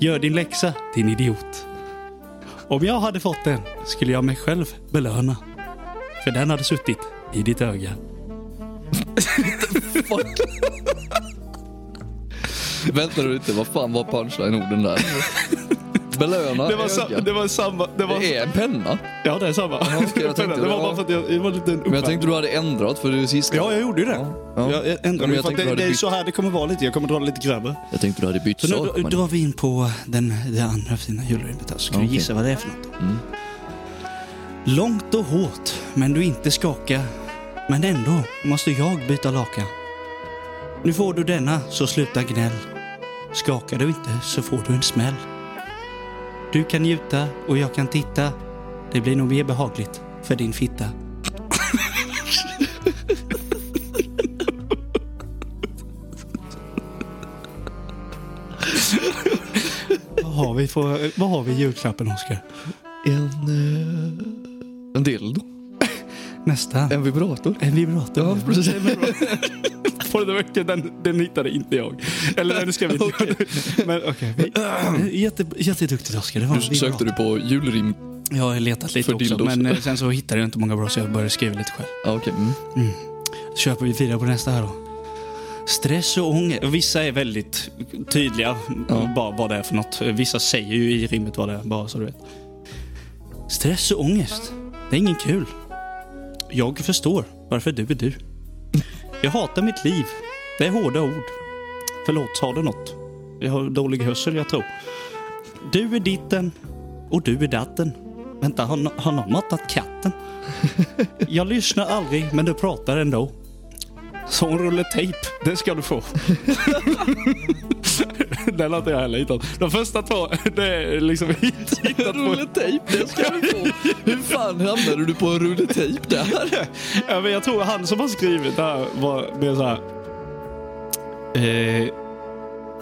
Speaker 1: Gör din läxa, din idiot. Om jag hade fått den skulle jag mig själv belöna. För den hade suttit i ditt öga.
Speaker 2: Vänta nu lite, vad fan var punchline-orden där? Belöna
Speaker 1: Det var, sam,
Speaker 2: öga.
Speaker 1: det var samma. Det var,
Speaker 2: Det är en penna.
Speaker 1: ja, det är samma.
Speaker 2: okej, jag tänkte
Speaker 1: det var
Speaker 2: det.
Speaker 1: bara för att jag, det var en liten
Speaker 2: Men jag tänkte du hade ändrat för det är det sista.
Speaker 1: Ja, jag gjorde ju det.
Speaker 2: Ja, ja.
Speaker 1: Jag ändrade
Speaker 2: Ja, men
Speaker 1: mig.
Speaker 2: jag
Speaker 1: för att det,
Speaker 2: tänkte du
Speaker 1: det
Speaker 2: hade
Speaker 1: är
Speaker 2: bytt-
Speaker 1: så här det kommer vara lite. Jag kommer dra det lite grövre.
Speaker 2: Jag tänkte du hade bytt
Speaker 1: Så
Speaker 2: sak.
Speaker 1: nu dra-
Speaker 2: men-
Speaker 1: drar vi in på den, det andra fina julrimmet här, så kan
Speaker 2: Okej.
Speaker 1: du gissa vad det är för något. Långt och hårt, men du inte skaka. Men ändå måste jag byta laka. Nu får du denna, så sluta gnäll. Skakar du inte så får du en smäll. Du kan njuta och jag kan titta. Det blir nog mer behagligt för din fitta. vad, har vi för, vad har vi i julklappen, Oskar?
Speaker 2: En... eh, En dildo.
Speaker 1: Nästa.
Speaker 2: En vibrator.
Speaker 1: En vibrator.
Speaker 2: Ja, precis.
Speaker 1: Får du veckan, den, den hittade inte jag. Eller den skrev inte jag. Men okej. vi- Jätte, jätteduktigt Oskar. Det var
Speaker 2: Du, sökte du på julrim?
Speaker 1: Jag har letat lite
Speaker 2: för
Speaker 1: också.
Speaker 2: dildos?
Speaker 1: Men eh, sen så hittade jag inte många bra så jag började skriva lite själv.
Speaker 2: Ja, okej. Mm.
Speaker 1: köper vi vidare på nästa här då. Stress och ångest. Vissa är väldigt tydliga
Speaker 2: Ja.
Speaker 1: bara vad det är för något. Vissa säger ju i rimmet vad det är, bara så du vet. Stress och ångest. Det är ingen kul. Jag förstår varför du är du. Jag hatar mitt liv. Det är hårda ord. Förlåt, sa du något? Jag har dålig hörsel, jag tror. Du är ditten och du är datten. Vänta, har, no- har någon matat katten? Jag lyssnar aldrig, men du pratar ändå. Så en rulle tejp, det ska du få. Den har inte jag heller hittat. De första två, det är liksom hit- hittat på.
Speaker 2: Rulletejp, det ska du få. Hur fan hamnade du på en rulletejp där?
Speaker 1: Ja, men jag tror han som har skrivit det här var mer så här. Eh,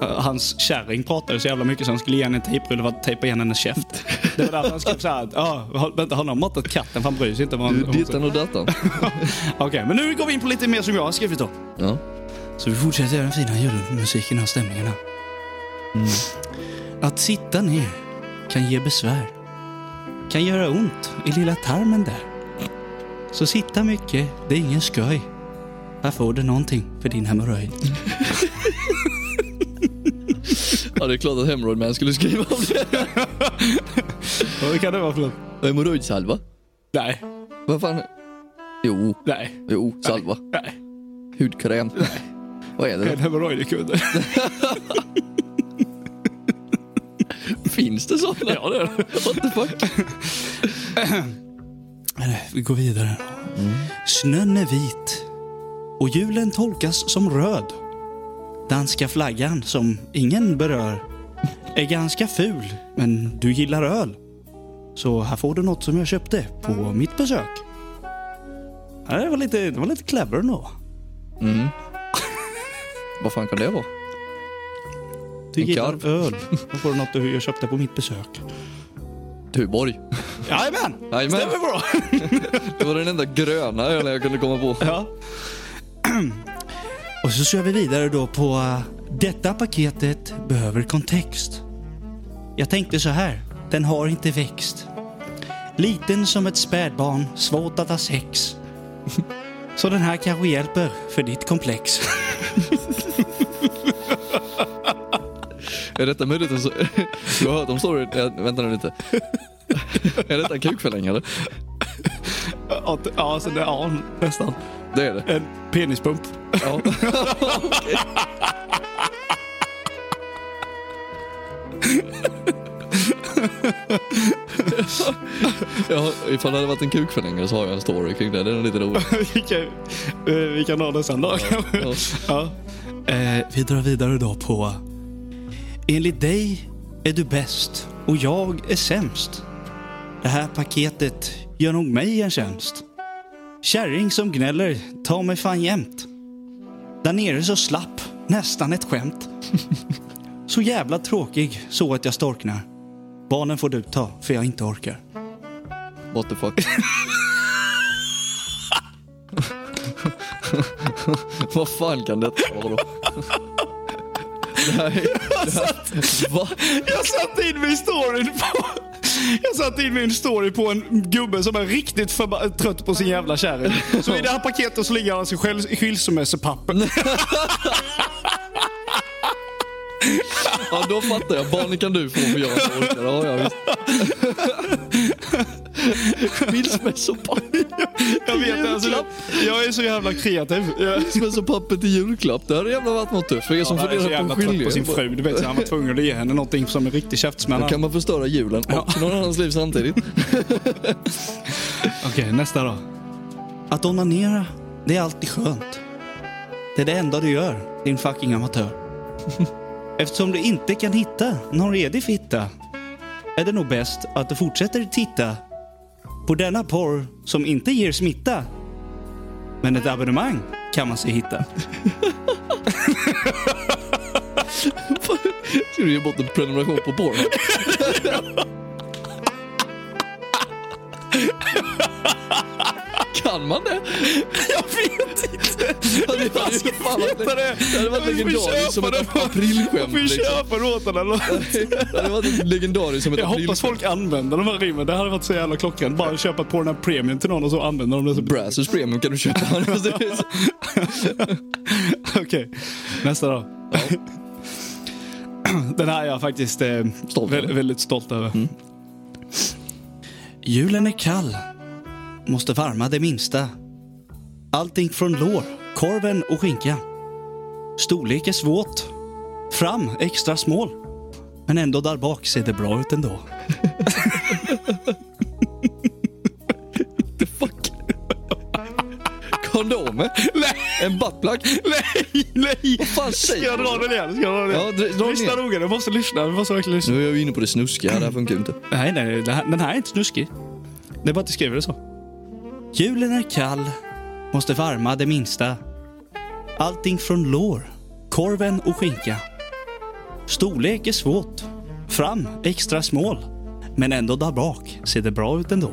Speaker 1: hans kärring pratade så jävla mycket så han skulle ge henne en tejprulle för att tejpa igen hennes käft. Det var därför han skrev så här. att, Ja, har- vänta, har någon matat katten? För han bryr sig inte. vad hon-
Speaker 2: Dittan och dattan.
Speaker 1: Okej, men nu går vi in på lite mer som jag har skrivit då.
Speaker 2: Ja.
Speaker 1: Så vi fortsätter den fina julmusiken och stämningarna. Mm. Att sitta ner kan ge besvär. Kan göra ont i lilla tarmen där. Så sitta mycket, det är ingen skoj. Här får du någonting för din hemorrojd.
Speaker 2: ja, det är klart att Hemorrhoid Man skulle skriva om det.
Speaker 1: Vad kan det vara för något?
Speaker 2: Hemorrojdsalva?
Speaker 1: Nej,
Speaker 2: Vad fan? Jo,
Speaker 1: nej,
Speaker 2: jo, salva.
Speaker 1: nej.
Speaker 2: Hudkräm. Vad är det?
Speaker 1: hemorrojdekudde.
Speaker 2: Finns det sådana?
Speaker 1: Ja, det är det.
Speaker 2: What the fuck?
Speaker 1: Men eh, vi går vidare. Snön är vit och julen tolkas som röd. Danska flaggan, som ingen berör, är ganska ful, men du gillar öl. Så här får du något som jag köpte på mitt besök. Ja, Det var lite, det var lite clever ändå.
Speaker 2: Vad fan kan det vara?
Speaker 1: Du
Speaker 2: En
Speaker 1: gillar
Speaker 2: karv.
Speaker 1: öl. Här får du något du- jag köpte på mitt besök.
Speaker 2: Tuborg.
Speaker 1: Jajamän!
Speaker 2: Jajamän.
Speaker 1: Stämmer bra!
Speaker 2: Det var den enda gröna ölen jag kunde komma på.
Speaker 1: Ja. Och så kör vi vidare då på eh, detta paketet behöver kontext. Jag tänkte så här, den har inte växt. Liten som ett spädbarn, svårt att ha sex. Så den här kanske hjälper för ditt komplex.
Speaker 2: Är detta möjligt? Så... Du har hört om storyn? Eh, Vänta nu lite. Är detta en kukförlängare?
Speaker 1: Ja, så det, ja nästan.
Speaker 2: Det är det.
Speaker 1: En penispump.
Speaker 2: Ja. Okej. ja, ifall det hade varit en kukförlängare så har jag en story kring det. Den är lite rolig.
Speaker 1: vi, kan, eh, vi kan ha det sen då.
Speaker 2: Ja.
Speaker 1: Ja. Eh, vi drar vidare då på... Enligt dig är du bäst och jag är sämst. Det här paketet gör nog mig en tjänst. Kärring som gnäller, ta mig fan jämt. Där nere så slapp, nästan ett skämt. Så jävla tråkig, så att jag storknar. Barnen får du ta, för jag inte orkar.
Speaker 2: What the fuck. Vad fan kan detta vara då? Nej, va?
Speaker 1: Jag satte in min story på... Jag satte in min story på en gubbe som är riktigt förba- trött på sin jävla kärring. Så i det här paketet så ligger alltså skil- skilsmässopapper.
Speaker 2: Ja, då fattar jag. Barnen kan du få för jag orkar. Ja, ja, visst. Skilsmässopapper.
Speaker 1: Jag vet alltså,
Speaker 2: Julklapp.
Speaker 1: Jag är så jävla kreativ. Jag,
Speaker 2: Skilsmässopapper till julklapp. Det hade jävla varit något tufft. För er som
Speaker 1: han är så
Speaker 2: funderar på
Speaker 1: jävla
Speaker 2: en
Speaker 1: trött på sin
Speaker 2: skilje.
Speaker 1: fru. Du vet, så han var tvungen att ge henne någonting som en riktig käftsmäll.
Speaker 2: Då kan man förstöra julen och någon annans liv samtidigt.
Speaker 1: Okej, nästa då. Att onanera, det är alltid skönt. Det är det enda du gör, din fucking amatör. Eftersom du inte kan hitta någon redig fitta är det nog bäst att du fortsätter titta på denna porr som inte ger smitta. Men ett abonnemang kan man sig hitta.
Speaker 2: Ska du ge bort en prenumeration på Pornhub? Kan man det?
Speaker 1: Jag vet inte!
Speaker 2: Ja, Det hade ju fan varit- det hade varit legendariskt som ett
Speaker 1: Jag
Speaker 2: aprilskämt.
Speaker 1: får
Speaker 2: Liksom.
Speaker 1: köpa det åt honom.
Speaker 2: Det hade varit legendariskt som ett
Speaker 1: Jag hoppas
Speaker 2: aprilskämt.
Speaker 1: folk använder de här rimmen. Det hade varit så jävla klockrent. Bara köpa på den här premium till någon och så använder de det. som-
Speaker 2: Brassers Premium kan du köpa. Alltså,
Speaker 1: Okej, nästa då. Den här är jag faktiskt eh,
Speaker 2: Stolt
Speaker 1: vä-
Speaker 2: över.
Speaker 1: väldigt stolt över. Mm. Julen är kall. Måste värma det minsta. Allting från lår, korven och skinkan. Storlek är svårt. Fram extra smål. Men ändå där bak ser det bra ut ändå.
Speaker 2: Fuck. Kondomer? En buttplug?
Speaker 1: Nej, nej! Vad
Speaker 2: fan säger
Speaker 1: Ska jag dra den igen? Ska jag dra den
Speaker 2: Ja,
Speaker 1: igen?
Speaker 2: dra- dra den
Speaker 1: lyssna
Speaker 2: igen.
Speaker 1: noga, du måste lyssna. Du måste verkligen lyssna.
Speaker 2: Nu är jag ju inne på det snuskiga, det här funkar ju inte.
Speaker 1: Nej, nej, det här, den här är inte snuskig. Det är bara att du skriver det så. Julen är kall, måste varma det minsta. Allting från lår, korven och skinka. Storlek är svårt, fram extra smål. Men ändå där bak ser det bra ut ändå.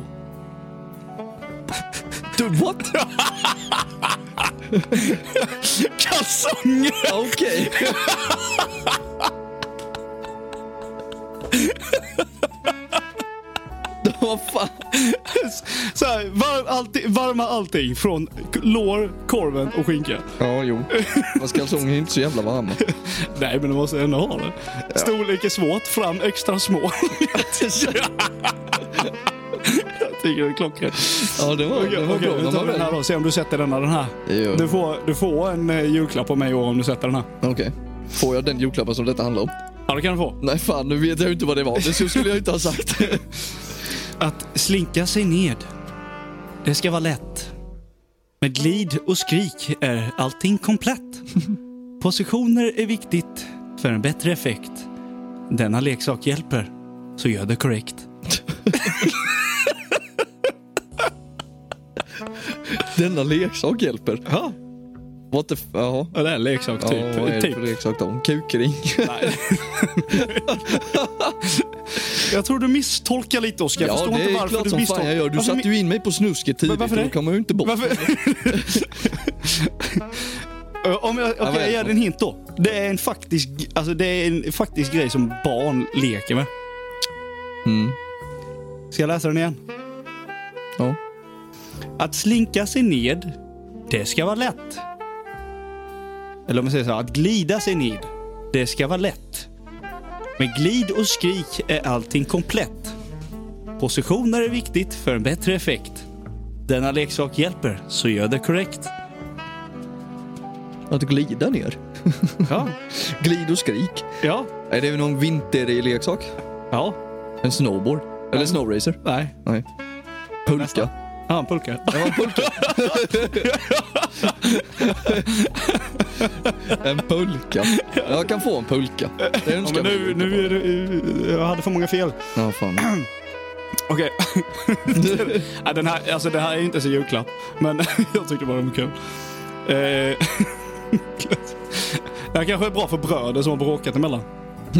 Speaker 2: Dude, what?
Speaker 1: Kalsonger!
Speaker 2: Okej. Vad fan?
Speaker 1: Så här, var, allting, varma allting från k- lår, korven och skinka.
Speaker 2: Ja, jo. Fast kalsonger är inte så jävla varma.
Speaker 1: Nej, men du måste ändå ha det. Storlek är svårt, fram extra små. Jag tycker det är klockrent.
Speaker 2: Ja, det var, det
Speaker 1: Okej,
Speaker 2: var
Speaker 1: okej,
Speaker 2: bra.
Speaker 1: nu
Speaker 2: Den
Speaker 1: tar
Speaker 2: var
Speaker 1: vi den här
Speaker 2: väl-
Speaker 1: då. Se om du sätter denna. Den här.
Speaker 2: Det gör jag.
Speaker 1: Du får, du får en eh, julklapp av mig i år om du sätter den här.
Speaker 2: Okej. Får jag den julklappen som detta handlar om?
Speaker 1: Ja, det kan du få.
Speaker 2: Nej, fan, nu vet jag ju inte vad det var. Det skulle jag inte ha sagt.
Speaker 1: Att slinka sig ned, det ska vara lätt. Med glid och skrik är allting komplett. Positioner är viktigt för en bättre effekt. Denna leksak hjälper, så gör det korrekt.
Speaker 2: Denna leksak hjälper.
Speaker 1: Ja,
Speaker 2: What the f... Jaha.
Speaker 1: det är en leksak
Speaker 2: Ja, vad är
Speaker 1: typ.
Speaker 2: det för leksak då? En Kukring?
Speaker 1: Jag tror du misstolkar lite Oskar. Jag
Speaker 2: Ja,
Speaker 1: förstår
Speaker 2: det
Speaker 1: inte
Speaker 2: är
Speaker 1: varför
Speaker 2: klart
Speaker 1: du
Speaker 2: som fan
Speaker 1: misstolkar. Alltså,
Speaker 2: jag gör. Du
Speaker 1: Varför
Speaker 2: satte
Speaker 1: mi-
Speaker 2: ju in mig på snusket tidigt
Speaker 1: varför
Speaker 2: och då
Speaker 1: det?
Speaker 2: kommer jag ju inte bort.
Speaker 1: Varför? Ö, Eh, Om jag, okej,
Speaker 2: vad är
Speaker 1: jag
Speaker 2: det
Speaker 1: ger
Speaker 2: för-
Speaker 1: dig en hint då. Det är en faktisk, alltså det är en faktisk grej som barn leker med.
Speaker 2: Mm.
Speaker 1: Ska jag läsa den igen?
Speaker 2: Ja.
Speaker 1: Att slinka sig ned, det ska vara lätt. Eller om man säger så här, att glida sig ned, det ska vara lätt. Med glid och skrik är allting komplett. Positioner är viktigt för en bättre effekt. Denna leksak hjälper, så gör det korrekt.
Speaker 2: Att glida ner.
Speaker 1: Ja.
Speaker 2: Glid och skrik.
Speaker 1: Ja.
Speaker 2: Är det någon vinterleksak?
Speaker 1: Ja.
Speaker 2: En snowboard? Eller snowracer?
Speaker 1: Nej.
Speaker 2: Nej. Pulka?
Speaker 1: Ja, en pulka.
Speaker 2: Ja, en pulka. en pulka. Jag kan få en pulka. Det
Speaker 1: Ja,
Speaker 2: önskar
Speaker 1: men nu,
Speaker 2: jag
Speaker 1: nu är det, eh, jag hade för många fel.
Speaker 2: Ja, fan.
Speaker 1: Okej. ja, den, här, alltså, den här är inte så julklapp, men jag tyckte bara den var kul. Eh, det här kanske är bra för bröder som har bråkat emellan.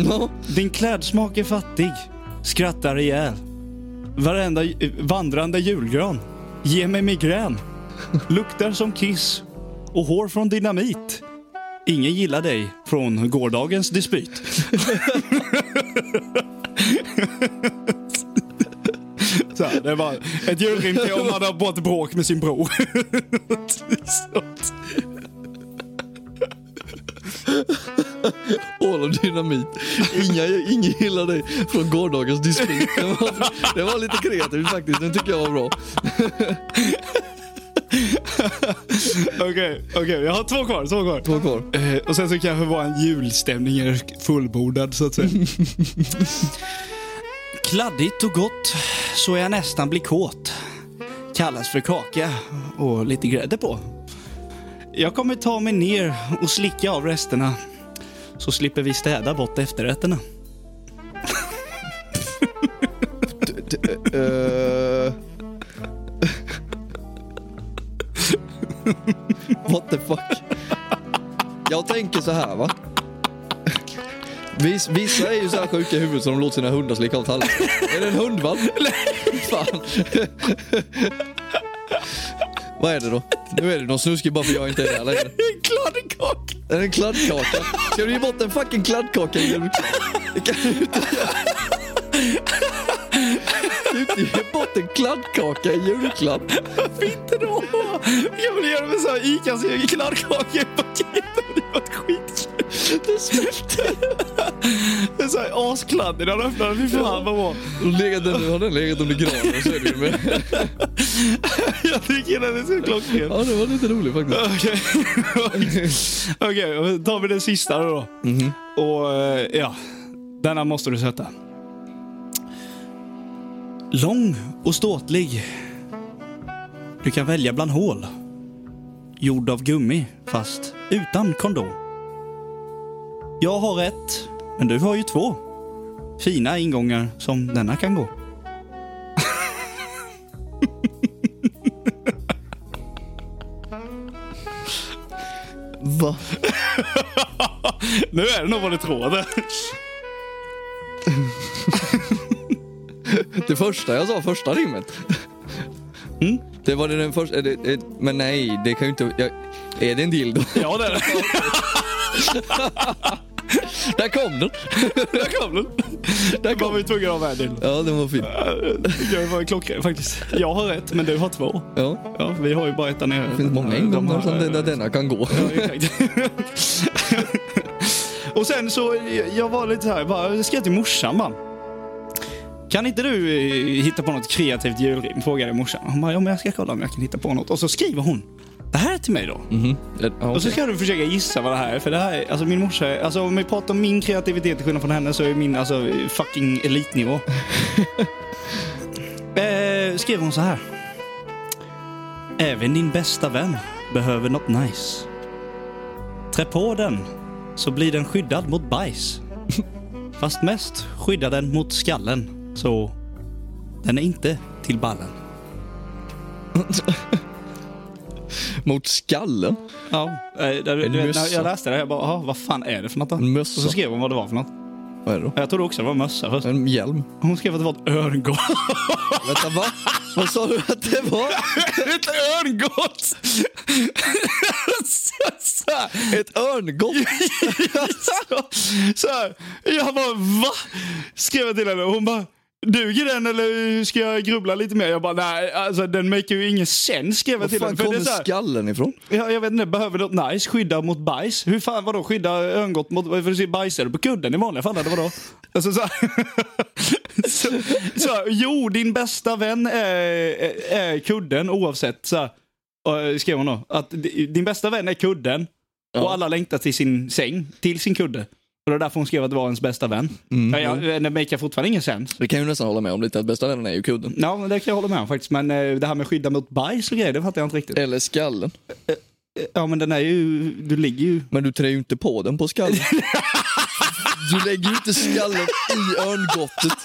Speaker 2: Ja.
Speaker 1: Din klädsmak är fattig, skrattar ihjäl. Varenda eh, vandrande julgran ger mig migrän. Luktar som kiss och hår från dynamit. Ingen gillar dig från gårdagens dispyt. Så här, det är bara ett julrim till om man har bort bråk med sin bror.
Speaker 2: All of dynamit. Inga, ingen gillar dig från gårdagens dispyt. Det var, det var lite kreativt faktiskt. Den tycker jag var bra.
Speaker 1: Okej, okej. Jag har två kvar. Två kvar.
Speaker 2: Två kvar.
Speaker 1: Eh, och sen så kanske vara en julstämning är fullbordad så att säga. Kladdigt och gott så jag nästan blir kåt. Kallas för kaka och lite grädde på. Jag kommer ta mig ner och slicka av resterna. Så slipper vi städa bort efterrätterna.
Speaker 2: Eh. What the fuck? Jag tänker så här va. Vis- Vissa är ju så här sjuka i huvudet så de låter sina hundar slicka av tallriken. Är det en hundvalp? Fan. Vad är det då? Nu är det någon snuskig bara för jag inte är där längre.
Speaker 1: Kladdkaka!
Speaker 2: Är det en kladdkaka? Ska du ge bort en fucking kladdkaka i julklapp? Det kan du inte göra. Du kan inte ge bort en kladdkaka i julklapp.
Speaker 1: Inte då! Jag vill göra med så här Icas egen kladdkaka i paket. Det hade varit skitkul.
Speaker 2: Det smälte.
Speaker 1: Det är så här askladdig när de öppnar den. Fy fan vad bra.
Speaker 2: Legat, den- har den legat under granen så är det ju med.
Speaker 1: Jag tycker den är så klockren.
Speaker 2: Ja, det var lite roligt faktiskt.
Speaker 1: Okej, Okej, då tar vi den sista då. Och eh, ja, denna måste du sätta. Lång och ståtlig. Du kan välja bland hål. Gjord av gummi, fast utan kondom. Jag har ett, men du har ju två. Fina ingångar som denna kan gå.
Speaker 2: Va?
Speaker 1: Nu är det nog vad du tror.
Speaker 2: Det första jag sa, första rimmet. Det var det den första, är det, är, men nej, det kan ju inte, jag, är det en dildo?
Speaker 1: Ja, det är det.
Speaker 2: Där kom den!
Speaker 1: Där kom den. Var
Speaker 2: Där kom
Speaker 1: vi
Speaker 2: den.
Speaker 1: tvungna att ha med den.
Speaker 2: Ja, den var fin.
Speaker 1: Jag var klockren faktiskt. Jag har ett, men du har två.
Speaker 2: Ja,
Speaker 1: Ja, vi har ju bara ett där nere.
Speaker 2: det finns många ingångar som den, där denna kan gå.
Speaker 1: Ja, exakt. Och sen så, jag var lite så här, bara, jag skrev till morsan bara. Kan inte du eh, hitta på något kreativt julrim? Frågade morsan. Hon bara, ja men jag ska kolla om jag kan hitta på något. Och så skriver hon. Det här är till mig då.
Speaker 2: Mhm. Ja,
Speaker 1: Och så ska du försöka gissa vad det här är. För det här är, alltså min morsa, är- alltså om vi pratar om min kreativitet till skillnad från henne så är min alltså fucking elitnivå. eh, skrev hon så här. Även din bästa vän behöver något nice. Trä på den så blir den skyddad mot bajs. Fast mest skyddar den mot skallen. Så den är inte till ballen.
Speaker 2: Mot skallen?
Speaker 1: Ja, eh, där- du,
Speaker 2: En
Speaker 1: vet,
Speaker 2: mössa.
Speaker 1: när jag läste det jag bara, "Jaha, vad fan är det för något då?
Speaker 2: En
Speaker 1: Och
Speaker 2: mössa?
Speaker 1: så skrev hon vad det var för något.
Speaker 2: Vad är det då?
Speaker 1: Jag trodde också det var mössa först.
Speaker 2: En hjälm?
Speaker 1: Hon skrev att det var ett örngott.
Speaker 2: Vänta, va? Vad sa du att det var?
Speaker 1: ett örngott! så, så, här.
Speaker 2: Ett örngott?
Speaker 1: så, så här. Jag bara va? Skrev jag till henne och hon bara Duger den eller ska jag grubbla lite mer? Jag bara nej, alltså den maker ju ingen sens skrev jag
Speaker 2: Var
Speaker 1: till
Speaker 2: fan
Speaker 1: henne. För det
Speaker 2: kommer
Speaker 1: är så här,
Speaker 2: skallen ifrån?
Speaker 1: jag, jag vet inte, behöver något nice skydda mot bajs? Hur fan vadå skydda örngott mot, för du ser bajsar på kudden i vanliga fall eller vadå? Alltså så, här, så, så här, jo din bästa vän är, är- är kudden oavsett så här, eh, skrev hon då, att di- din bästa vän är kudden och alla längtar till sin säng, till sin kudde. Och det var därför hon skrev att det var ens bästa vän. Ja, ja, det maker fortfarande ingen sens.
Speaker 2: Det kan jag ju nästan hålla med om lite, att bästa vännen är ju kudden.
Speaker 1: Ja, men det kan jag hålla med om faktiskt. Men eh, det här med skydda mot bajs och grejer, det fattar jag inte riktigt.
Speaker 2: Eller skallen.
Speaker 1: Eh, Ja, men den är ju, du ligger ju
Speaker 2: Men du trär ju inte på den på skallen. Du lägger ju inte skallen i örngottet.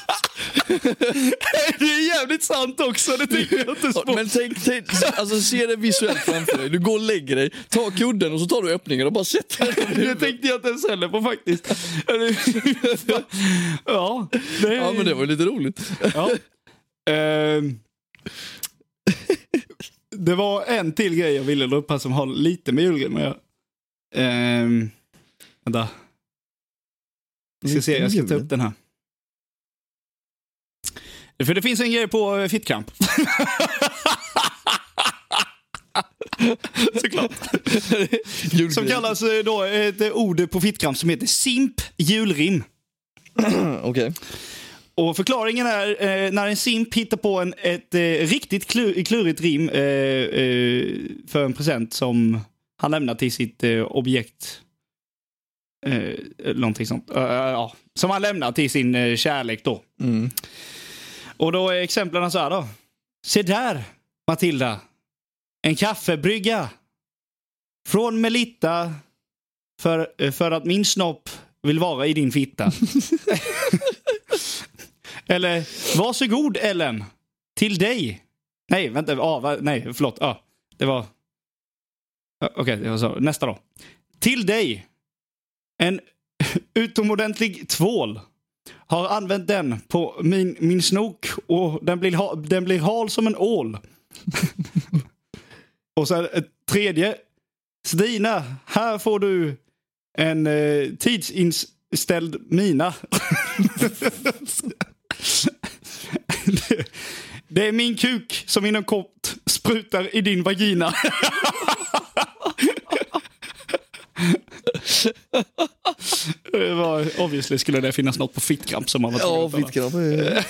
Speaker 1: Det är jävligt sant också, det tycker jag inte spår.
Speaker 2: Men tänk, tänk alltså, se det visuellt framför dig. Du går och lägger dig, tar kudden och så tar du öppningen och bara sätter den över
Speaker 1: Det
Speaker 2: huvudet.
Speaker 1: tänkte jag inte ens heller på faktiskt. Eller- ja, det är...
Speaker 2: Ja men det var ju lite roligt.
Speaker 1: Ja. Ehm. det var en till grej jag ville dra upp här som har lite med julgren att göra. Ehm, vänta. Jag ska se, jag ska ta upp den här. För det finns en grej på eh, Fittkamp. Såklart.
Speaker 2: Julgren.
Speaker 1: Som kallas eh, då ett eh, ord på Fittkamp som heter simp julrim.
Speaker 2: Okej.
Speaker 1: Och förklaringen är eh, när en simp hittar på en, ett eh, riktigt klur, klurigt rim eh, eh, för en present som han lämnar till sitt eh, objekt. Eh, någonting sånt. Eh, ja. Som han lämnar till sin eh, kärlek då.
Speaker 2: Mm.
Speaker 1: Och då är exemplen så här då. Se där, Matilda. En kaffebrygga. Från Melitta. För, eh, för att min snopp vill vara i din fitta. Eller, varsågod Ellen. Till dig. Nej, vänta. Ah, va, nej, förlåt. Ah, det var... Ah, Okej, det var så. Nästa då. Till dig. En utomordentlig tvål. Har använt den på min, min snok och den blir, ha, den blir hal som en ål. och sen ett tredje. Stina, här får du en eh, tidsinställd mina. det, det är min kuk som inom kort sprutar i din vagina. Det var, obviously skulle det finnas något på fittkramp som man var tvungen
Speaker 2: Ja,
Speaker 1: att ta.
Speaker 2: Fittkramp är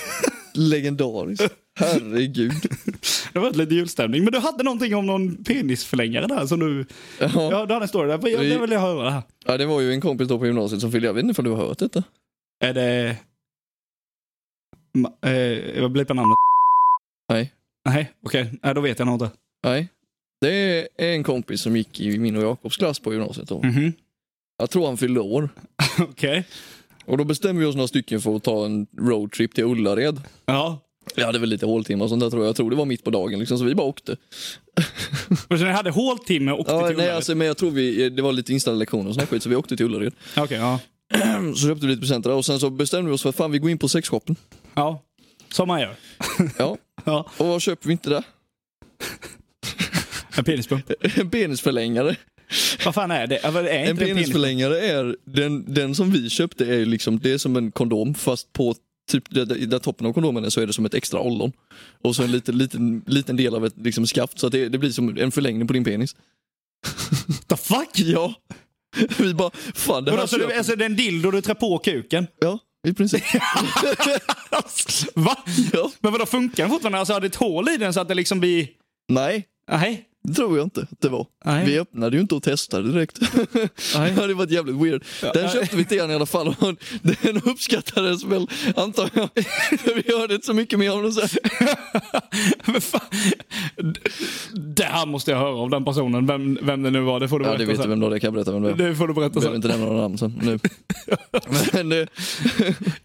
Speaker 2: legendariskt. Herregud.
Speaker 1: Det var lite julstämning. Men du hade någonting om någon penisförlängare där som du...
Speaker 2: Ja.
Speaker 1: Ja, du hade en story där. Jag, det vill jag höra. Det här.
Speaker 2: Ja, det var ju en kompis då på gymnasiet som fyllde, jag vet inte om du har hört detta?
Speaker 1: Är det... Ma- eh, vad blir på namnet?
Speaker 2: Nej.
Speaker 1: Nej, okej. Nej, då vet jag nog inte.
Speaker 2: Nej. Det är en kompis som gick i min och Jakobs klass på gymnasiet då.
Speaker 1: Mhm.
Speaker 2: Jag tror han fyllde år.
Speaker 1: Okej.
Speaker 2: Och då bestämde vi oss några stycken för att ta en roadtrip till Ullared.
Speaker 1: Ja.
Speaker 2: Vi hade väl lite håltimmar och sånt där tror jag. Jag tror det var mitt på dagen liksom, så vi bara åkte.
Speaker 1: Och sen jag hade håltimme och åkte
Speaker 2: Ja,
Speaker 1: till
Speaker 2: nej,
Speaker 1: Ullared.
Speaker 2: alltså, men jag tror vi, det var lite inställda lektioner och sån här skit, så vi åkte till Ullared.
Speaker 1: Okej, ja.
Speaker 2: Så köpte vi lite presenter där och sen så bestämde vi oss för att fan, vi går in på sexshoppen.
Speaker 1: Ja. Som man gör.
Speaker 2: Ja,
Speaker 1: Ja.
Speaker 2: och vad köper vi inte där?
Speaker 1: En penispump.
Speaker 2: En penisförlängare.
Speaker 1: Vad fan är det? Ja, vad Är inte
Speaker 2: En penisförlängare är, den, den som vi köpte är ju liksom, det är som en kondom fast på typ där, där där toppen av kondomen är så är det som ett extra ollon. Och så en liten, liten, liten del av ett liksom, skaft så att det, det blir som en förlängning på din penis.
Speaker 1: What the fuck?
Speaker 2: Ja. Vi bara, fan det
Speaker 1: Men
Speaker 2: här
Speaker 1: alltså,
Speaker 2: köper
Speaker 1: det, alltså, det är en dildo du trär på kuken.
Speaker 2: Ja, i princip.
Speaker 1: Va?
Speaker 2: ja.
Speaker 1: Men vadå, funkar den fortfarande? Alltså, har det ett hål i den så att det liksom blir...
Speaker 2: Nej,
Speaker 1: Nej.
Speaker 2: det tror jag inte att det var.
Speaker 1: Nej.
Speaker 2: Vi öppnade ju inte och testade direkt.
Speaker 1: Nej.
Speaker 2: det hade varit jävligt weird. Den
Speaker 1: nej.
Speaker 2: köpte vi till han i alla fall. och han- Den uppskattades väl, antar jag. För vi hörde inte så mycket mer om den sen.
Speaker 1: Men fan. D- Det här måste jag höra av den personen, vem, vem det nu var. Det får du
Speaker 2: Ja,
Speaker 1: berätta
Speaker 2: det vet du
Speaker 1: sen.
Speaker 2: vem det är. Jag kan berätta vem det är.
Speaker 1: Det får du berätta
Speaker 2: Jag behöver
Speaker 1: sen.
Speaker 2: inte nämna några namn sen. Nu. Men, eh,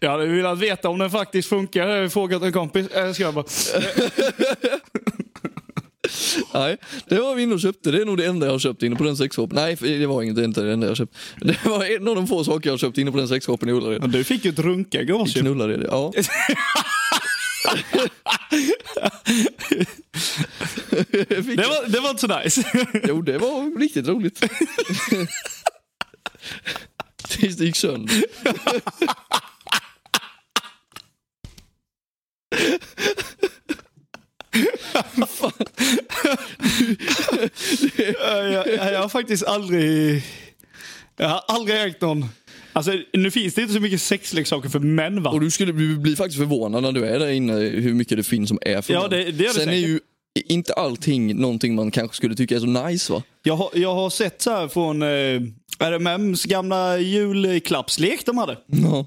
Speaker 1: Jag hade velat veta om den faktiskt funkar. Jag har frågat en kompis. Äh, ska jag bara.
Speaker 2: nej, det var vi inne och köpte. Det är nog det enda jag har köpt inne på den sexshopen. Nej, det var inget, det är inte det enda jag köpt. Det var en av de få saker jag har köpt inne på den sexshopen i Ullared.
Speaker 1: Du fick ju ett runka-gage.
Speaker 2: Knullar är det, ja. Fick-
Speaker 1: Det var, det var inte så nice.
Speaker 2: Jo, det var riktigt roligt. Tills det gick sönder.
Speaker 1: Eh, jag, jag, jag har faktiskt aldrig... Jag har aldrig ägt någon... Alltså, nu finns det inte så mycket sexleksaker för män, va?
Speaker 2: Och du skulle bli, bli faktiskt förvånad när du är där inne hur mycket det finns som är för
Speaker 1: Ja,
Speaker 2: män.
Speaker 1: det- det är det
Speaker 2: Sen är
Speaker 1: säkert.
Speaker 2: ju inte allting någonting man kanske skulle tycka är så nice va?
Speaker 1: Jag har, jag har sett så här från eh, RMMs gamla julklappslek de hade.
Speaker 2: Ja.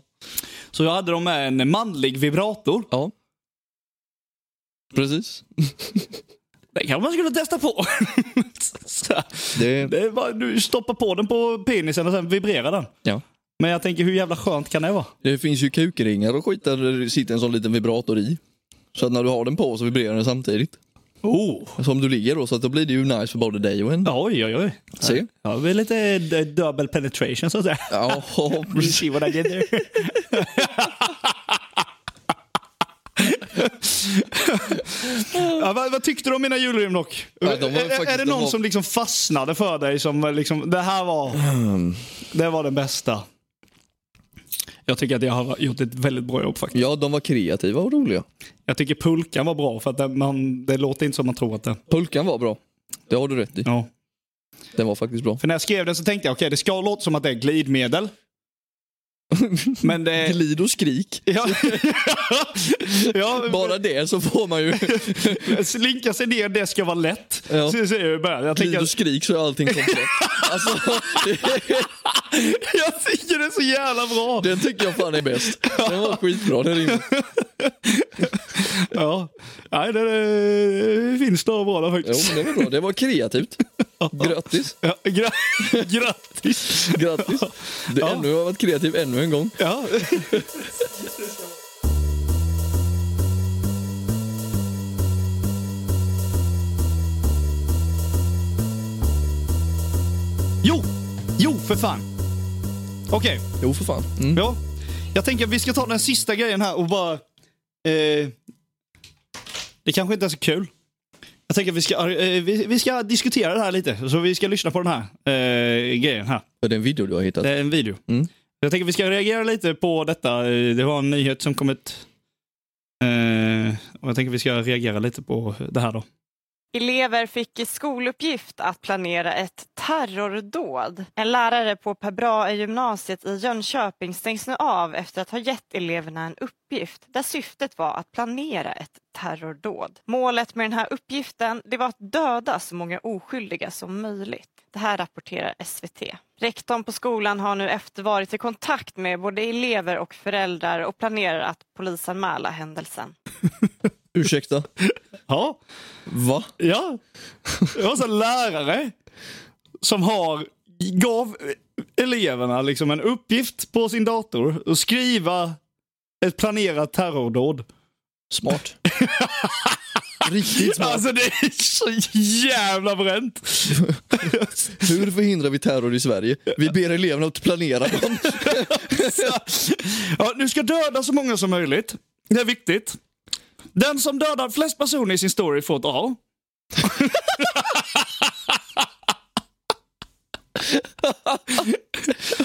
Speaker 1: Så jag hade de med en manlig vibrator.
Speaker 2: ja. Precis.
Speaker 1: Det kanske man skulle testa på. Så här.
Speaker 2: Det,
Speaker 1: det är bara, du stoppar på den på penisen och sen vibrerar den.
Speaker 2: ja.
Speaker 1: Men jag tänker hur jävla skönt kan det vara?
Speaker 2: det finns ju kukringar och skit där det sitter en sån liten vibrator i. Så att när du har den på så vibrerar den samtidigt.
Speaker 1: Oh.
Speaker 2: Som du ligger då, så att då blir det ju nice för både dig och en.
Speaker 1: Oj, oj, oj.
Speaker 2: Se.
Speaker 1: Ja, det är lite d- double penetration så att säga.
Speaker 2: Ja,
Speaker 1: You
Speaker 2: precis.
Speaker 1: see what I did there? Ja, vad, vad tyckte du om mina julrim dock?
Speaker 2: Ja, de var
Speaker 1: är,
Speaker 2: faktiskt-
Speaker 1: är det
Speaker 2: de
Speaker 1: någon
Speaker 2: var-
Speaker 1: som liksom fastnade för dig? Som liksom, det här var,
Speaker 2: Ehm.
Speaker 1: det var den bästa. Jag tycker att jag har gjort ett väldigt bra jobb faktiskt.
Speaker 2: Ja, de var kreativa och roliga.
Speaker 1: Jag tycker pulkan var bra för att det, man, det låter inte som man tror att det
Speaker 2: Pulkan var bra. Det har du rätt i.
Speaker 1: Ja.
Speaker 2: Den var faktiskt bra.
Speaker 1: För när jag skrev den så tänkte jag okej det ska låta som att det är glidmedel. Men det...
Speaker 2: Glid och skrik.
Speaker 1: Ja, ja,
Speaker 2: Bara det så får man ju...
Speaker 1: slinka sig ner, det ska vara lätt.
Speaker 2: Ja.
Speaker 1: Så, så är det i början. jag,
Speaker 2: Glid
Speaker 1: tänker,
Speaker 2: och skrik så är allting komplett. Alltså, det,
Speaker 1: jag tycker det är så jävla bra.
Speaker 2: den tycker jag fan är bäst. Den var skitbra. Den ringen.
Speaker 1: Ja. Nej, det, det finns några bra där
Speaker 2: Jo,
Speaker 1: faktiskt.
Speaker 2: men det var bra. Det var kreativt. Grattis.
Speaker 1: Ja, gra grattis!
Speaker 2: Grattis. Det,
Speaker 1: Ja.
Speaker 2: Ännu har jag varit kreativ ännu en gång.
Speaker 1: Ja. Jo! Jo, för fan! Okej,
Speaker 2: Jo, för fan. Mm.
Speaker 1: ja. Jag tänker att vi ska ta den sista grejen här och bara... Eh, det kanske inte är så kul. Jag tänker att vi ska, eh, vi, vi ska diskutera det här lite. Så vi ska lyssna på den här eh, grejen här.
Speaker 2: Det är en video du har hittat.
Speaker 1: Det är en video.
Speaker 2: Mm.
Speaker 1: Jag tänker vi ska reagera lite på detta. Eh, Det var en nyhet som kommit. Eh, och jag tänker vi ska reagera lite på det här då.
Speaker 4: Elever fick i skoluppgift att planera ett terrordåd. En lärare på Per Brahe gymnasiet i Jönköping stängs nu av efter att ha gett eleverna en uppgift där syftet var att planera ett terrordåd. Målet med den här uppgiften det var att döda så många oskyldiga som möjligt. Det här rapporterar SVT. Rektorn på skolan har nu efter varit i kontakt med både elever och föräldrar och planerar att polisanmäla händelsen.
Speaker 2: Ursäkta?
Speaker 1: Ja,
Speaker 2: Va?
Speaker 1: ja. Det var så en lärare som har gav eleverna liksom en uppgift på sin dator att skriva ett planerat terrordåd.
Speaker 2: Smart. Riktigt smart.
Speaker 1: Alltså det är så jävla bränt.
Speaker 2: Hur förhindrar vi terror i Sverige? Vi ber eleverna att planera dem.
Speaker 1: ja, du ska döda så många som möjligt. Det är viktigt. Den som dödar flest personer i sin story får ett A.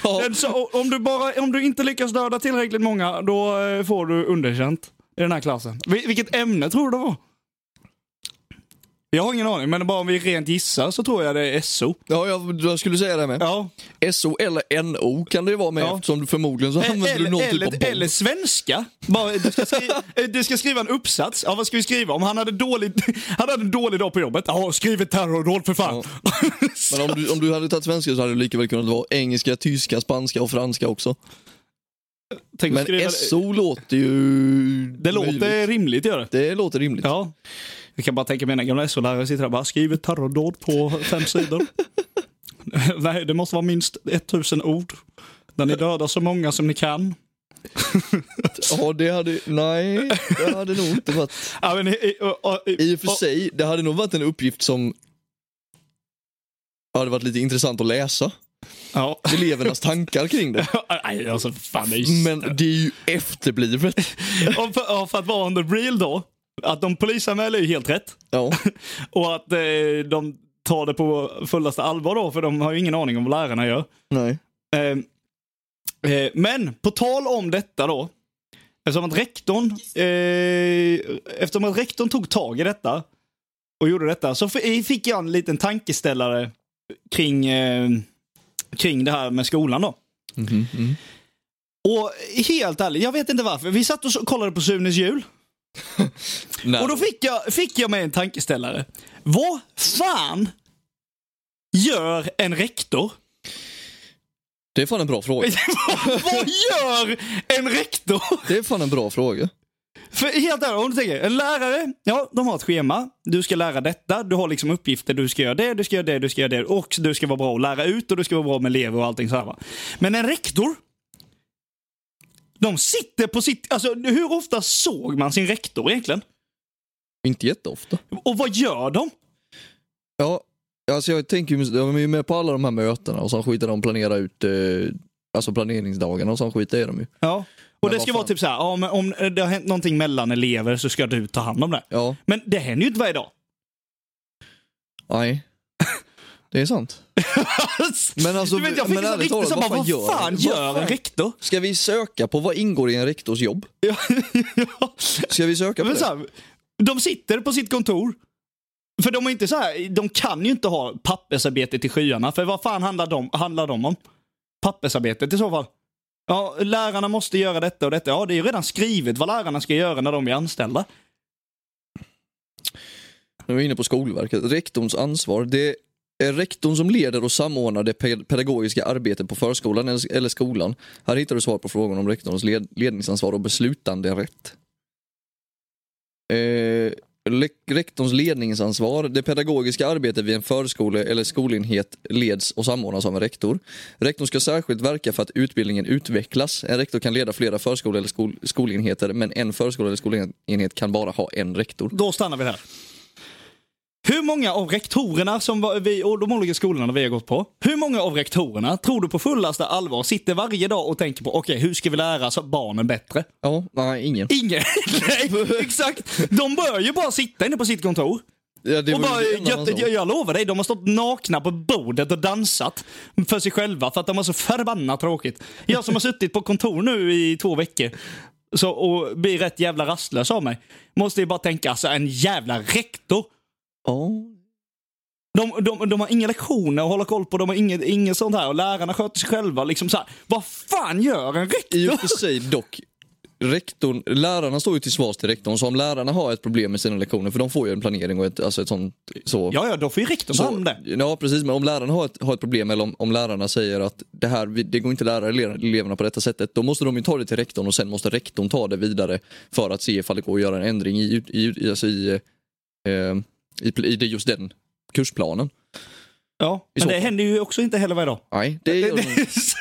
Speaker 2: Ja.
Speaker 1: Den som- om, du bara, om du inte lyckas döda tillräckligt många, då eh, får du underkänt i den här klassen. Vil- vilket ämne tror du det var? Jag har ingen aning, men bara om vi rent gissar så tror jag det är SO.
Speaker 2: Ja, jag, jag skulle säga det med.
Speaker 1: Ja.
Speaker 2: SO eller NO kan det ju vara med
Speaker 1: Ja.
Speaker 2: eftersom du förmodligen så använder du
Speaker 1: Eller,
Speaker 2: någon
Speaker 1: eller,
Speaker 2: typ av bomb.
Speaker 1: eller svenska. Bara, du, ska skriva, eh, du ska skriva en uppsats. Ja, vad ska vi skriva? Om han hade, dåligt, han hade en dålig dag på jobbet. Ja, skriv ett terrordåd för fan.
Speaker 2: Men om du, om du hade tagit svenska så hade det lika väl kunnat vara engelska, tyska, spanska och franska också.
Speaker 1: Tänk att skriva-
Speaker 2: Men SO låter ju...
Speaker 1: det låter rimligt, gör det.
Speaker 2: Det låter rimligt.
Speaker 1: Ja. Jag kan bara tänka mig när gamla SO-lärare sitter där och bara skriver terrordåd på fem sidor. Nej, det måste vara minst 1000 ord. När ni dödar så många som ni kan.
Speaker 2: Ja, det hade... Nej, det hade nog inte varit...
Speaker 1: Ja, men, i, i, i,
Speaker 2: I och för sig, det hade nog varit en uppgift som hade varit lite intressant att läsa.
Speaker 1: ja.
Speaker 2: Elevernas tankar kring det.
Speaker 1: Nej, alltså fan det är ju
Speaker 2: Men det är ju efterblivet.
Speaker 1: Och för, ja, för att vara on the real då. Att de polisanmäler är ju helt rätt.
Speaker 2: Ja.
Speaker 1: Och att eh, de tar det på fullaste allvar då, för de har ju ingen aning om vad lärarna gör.
Speaker 2: Nej.
Speaker 1: Eh, eh, men på tal om detta då. Eftersom att rektorn, eh, eftersom att rektorn tog tag i detta och gjorde detta så f- fick jag en liten tankeställare kring, eh, kring det här med skolan då.
Speaker 2: Mhm,
Speaker 1: Och helt ärligt, jag vet inte varför. Vi satt och så- kollade på Sunes jul.
Speaker 2: Nej.
Speaker 1: Och då fick jag, fick jag mig en tankeställare. Vad fan gör en rektor?
Speaker 2: Det är fan en bra fråga.
Speaker 1: Vad gör en rektor?
Speaker 2: Det är fan en bra fråga.
Speaker 1: För helt ärligt, om du tänker, en lärare, ja, de har ett schema. Du ska lära detta, du har liksom uppgifter, du ska göra det, du ska göra det, du ska göra det. Och du ska vara bra att lära ut och du ska vara bra med elever och allting så här. Va? Men en rektor, de sitter på sitt... Alltså, hur ofta såg man sin rektor egentligen?
Speaker 2: Inte jätteofta.
Speaker 1: Och vad gör de?
Speaker 2: Ja, alltså jag tänker ju, de är ju med på alla de här mötena och så skiter de planera ut, eh, alltså planeringsdagarna och så skiter de ju.
Speaker 1: Ja. Och
Speaker 2: Men
Speaker 1: det ska
Speaker 2: vad
Speaker 1: vara
Speaker 2: fan.
Speaker 1: typ så här, ja, men om det har hänt någonting mellan elever så ska du ta hand om det.
Speaker 2: Ja,
Speaker 1: Men det händer ju inte varje dag.
Speaker 2: nej. Det är sant. Men alltså,
Speaker 1: du vet, jag fick en
Speaker 2: men
Speaker 1: sån
Speaker 2: ärligt
Speaker 1: rektor
Speaker 2: talat,
Speaker 1: som bara, vad
Speaker 2: gör-
Speaker 1: fan gör en rektor?
Speaker 2: Ska vi söka på vad ingår i en rektors jobb?
Speaker 1: Ja,
Speaker 2: Ska vi söka på
Speaker 1: men så
Speaker 2: det?
Speaker 1: här, de sitter på sitt kontor. För de är inte så här, de kan ju inte ha pappersarbete till skyarna. För vad fan handlar de, handlar de om? Pappersarbetet i så fall. Ja, lärarna måste göra detta och detta. Ja, det är ju redan skrivet vad lärarna ska göra när de är anställda.
Speaker 2: Nu är vi inne på Skolverket. Rektorns ansvar. Det är rektorn som leder och samordnar det pe- pedagogiska arbetet på förskolan eller- eller skolan. Här hittar du svar på frågan om rektorns led- ledningsansvar och beslutanderätt. Eh, le- rektorns ledningsansvar. Det pedagogiska arbetet vid en förskole eller skolenhet leds och samordnas av en rektor. Rektorn ska särskilt verka för att utbildningen utvecklas. En rektor kan leda flera förskole eller skol- skolenheter men en förskola eller skolenhet kan bara ha en rektor.
Speaker 1: Då stannar vi där. Hur många av rektorerna som var, vi, och de olika skolorna vi har gått på, hur många av rektorerna tror du på fullaste allvar sitter varje dag och tänker på okej, hur ska vi lära så barnen bättre?
Speaker 2: Ja, nej, ingen.
Speaker 1: Ingen! Nej, exakt! De bör ju bara sitta inne på sitt kontor.
Speaker 2: Ja, det
Speaker 1: Och
Speaker 2: var
Speaker 1: bara,
Speaker 2: ju en annan
Speaker 1: jag,
Speaker 2: sak.
Speaker 1: jag, jag lovar dig, de har stått nakna på bordet och dansat för sig själva för att de har så förbannat tråkigt. Jag som har suttit på kontor nu i två veckor så, och blir rätt jävla rastlös av mig. Måste ju bara tänka, alltså en jävla rektor.
Speaker 2: Ja.
Speaker 1: De, de, de har inga lektioner att hålla koll på, de har inget, inget sånt här och lärarna sköter sig själva. Liksom så här. Vad fan gör en rektor?
Speaker 2: I och för sig dock, rektorn, lärarna står ju till svars till rektorn, så om lärarna har ett problem med sina lektioner, för de får ju en planering och ett, alltså ett sånt... Så,
Speaker 1: Ja, ja, då får ju rektorn ta hand om
Speaker 2: så,
Speaker 1: det.
Speaker 2: ja, precis. Men om lärarna har ett, har ett problem eller om, om lärarna säger att det här, vi- det går inte att lära ele- eleverna på detta sättet, då måste de ju ta det till rektorn och sen måste rektorn ta det vidare för att se ifall det går att göra en ändring i, ut- i, ut- i, alltså i, eh, i, pl- i det- just den kursplanen.
Speaker 1: Ja, men
Speaker 2: så
Speaker 1: det
Speaker 2: fall.
Speaker 1: händer ju också inte heller varje dag.
Speaker 2: Nej, det gör de inte.
Speaker 1: Så,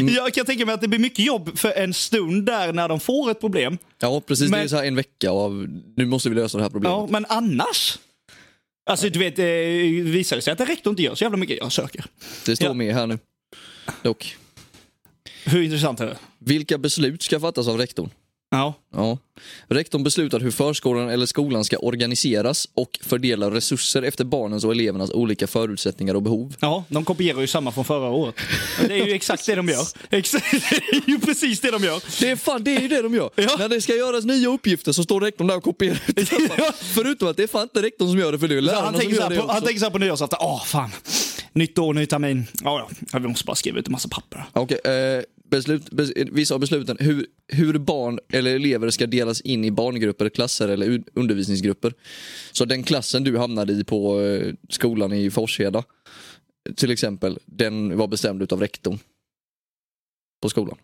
Speaker 1: jag kan tänka mig att det blir mycket jobb för en stund där när de får ett problem.
Speaker 2: Ja, precis. det är
Speaker 1: Men-
Speaker 2: så här en vecka av nu måste vi lösa det här problemet.
Speaker 1: Ja, men annars? Alltså du vet, eh, visar det sig att en rektor inte gör så jävla mycket, jag söker.
Speaker 2: Det står
Speaker 1: Ja.
Speaker 2: med här nu. Dock.
Speaker 1: Hur intressant är det?
Speaker 2: Vilka beslut ska fattas av rektorn?
Speaker 1: Ja.
Speaker 2: Ja. Rektorn beslutar hur förskolan eller skolan ska organiseras och fördelar resurser efter barnens och elevernas olika förutsättningar och behov.
Speaker 1: ja, de kopierar ju samma från förra året. Det är ju exakt det de gör. Exakt, det är ju precis det de gör.
Speaker 2: Det är, fan, det är ju det de gör.
Speaker 1: Ja.
Speaker 2: När det ska göras nya uppgifter så står rektorn där och kopierar ut
Speaker 1: Ja.
Speaker 2: allt. Förutom att det är fan inte rektorn som gör det, för det är
Speaker 1: Så han,
Speaker 2: lärarna som
Speaker 1: tänker så
Speaker 2: gör
Speaker 1: här
Speaker 2: det
Speaker 1: på, han
Speaker 2: också.
Speaker 1: tänker så här på nyårsafton, åh fan. Nytt år, ny termin. Ja, ja, vi måste bara skriva ut en massa papper.
Speaker 2: Okej, eh, beslut, bes, vissa av besluten. Hur, hur barn eller elever ska delas in i barngrupper, klasser eller un- undervisningsgrupper. Så den klassen du hamnade i på eh, skolan i Forsheda till exempel, den var bestämd utav rektorn på skolan.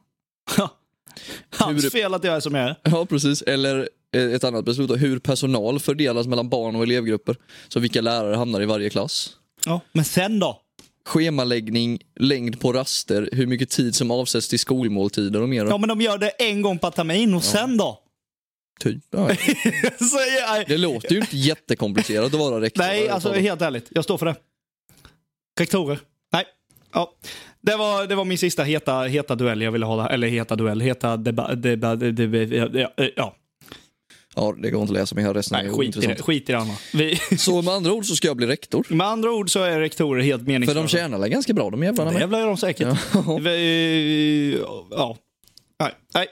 Speaker 1: Hans
Speaker 2: Hur-
Speaker 1: fel att jag är som jag är.
Speaker 2: Ja, precis. Eller eh, ett annat beslut då, hur personal fördelas mellan barn och elevgrupper. Så vilka lärare hamnar i varje klass.
Speaker 1: Ja. Men sen då?
Speaker 2: Schemaläggning, längd på raster, hur mycket tid som avsätts till skolmåltider och mer.
Speaker 1: Ja, men de gör det en gång per termin och sen då?
Speaker 2: Typ. Ja.
Speaker 1: Så jag,
Speaker 2: Det låter ju inte jättekomplicerat att vara rektor.
Speaker 1: nej, alltså helt ärligt. Jag står för det. Rektorer. Nej. Ja. Det, var, det var min sista heta, heta duell jag ville ha. Eller heta duell. Heta deba, deba, deba, ja, ja.
Speaker 2: Ja, det går inte att läsa mer här resten.
Speaker 1: Nej,
Speaker 2: är
Speaker 1: skit i, det,
Speaker 2: ointressant.
Speaker 1: skit i det andra. Vi,
Speaker 2: Så med andra ord så ska jag bli rektor.
Speaker 1: med andra ord så är rektorer helt
Speaker 2: För
Speaker 1: meningslösa.
Speaker 2: de tjänar väl ganska bra de jävlarna
Speaker 1: Det
Speaker 2: med.
Speaker 1: jävlar gör de säkert.
Speaker 2: Ja.
Speaker 1: Vi, ja. Nej, nej.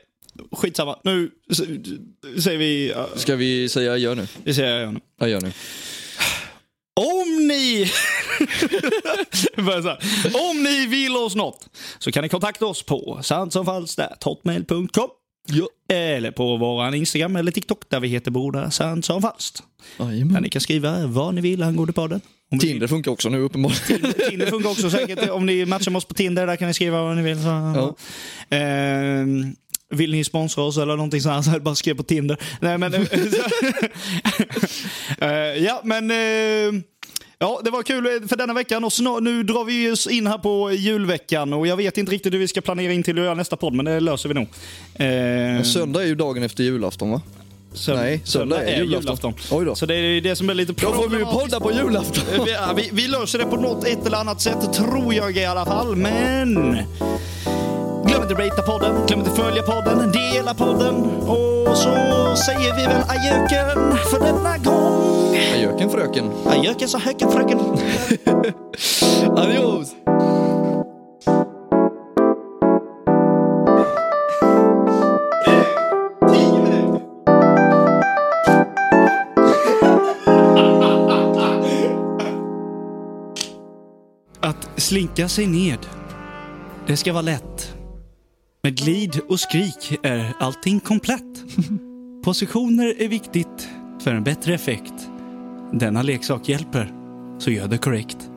Speaker 1: Skitsamma. Nu s- säger vi... ja,
Speaker 2: Ska vi säga gör nu?
Speaker 1: Vi säger ja nu.
Speaker 2: Ja, gör nu.
Speaker 1: Om ni... Bara så här. Om ni vill oss något så kan ni kontakta oss på sandsomfalskt.hotmail.com
Speaker 2: Ja.
Speaker 1: eller på vår Instagram eller TikTok där vi heter Broda Sant som falskt. Där
Speaker 2: Jajamän.
Speaker 1: ni kan skriva vad ni vill angående podden. Om vi-
Speaker 2: Tinder funkar också nu uppenbarligen.
Speaker 1: Tinder funkar också säkert. Om ni matchar med oss på Tinder där kan ni skriva vad ni vill. Så. Ehm, vill ni sponsra oss eller någonting sånt här så är det bara skriv på Tinder. Nej, men, eh, så- Eh, ja, men... eh, Ja, det var kul för denna veckan och snart, nu drar vi oss in här på julveckan och jag vet inte riktigt hur vi ska planera in till att göra nästa podd men det löser vi nog. Eh,
Speaker 2: Söndag är ju dagen efter julafton va?
Speaker 1: sönd-
Speaker 2: nej, söndag är julafton. Oj då.
Speaker 1: Så det är det som är lite
Speaker 2: Då får vi ju podda på julafton.
Speaker 1: Eh, Vi, ja, vi, vi löser det på något ett eller annat sätt, tror jag i alla fall. Men
Speaker 5: Glöm inte ratea podden, glöm inte följa podden, dela podden. Och så säger vi väl adjöken för denna gång.
Speaker 2: Ajöken fröken.
Speaker 5: Adjöken sa höken fröken.
Speaker 2: Adios!
Speaker 1: Att slinka sig ned, det ska vara lätt. Med glid och skrik är allting komplett. Positioner är viktigt för en bättre effekt. Denna leksak hjälper, så gör det korrekt.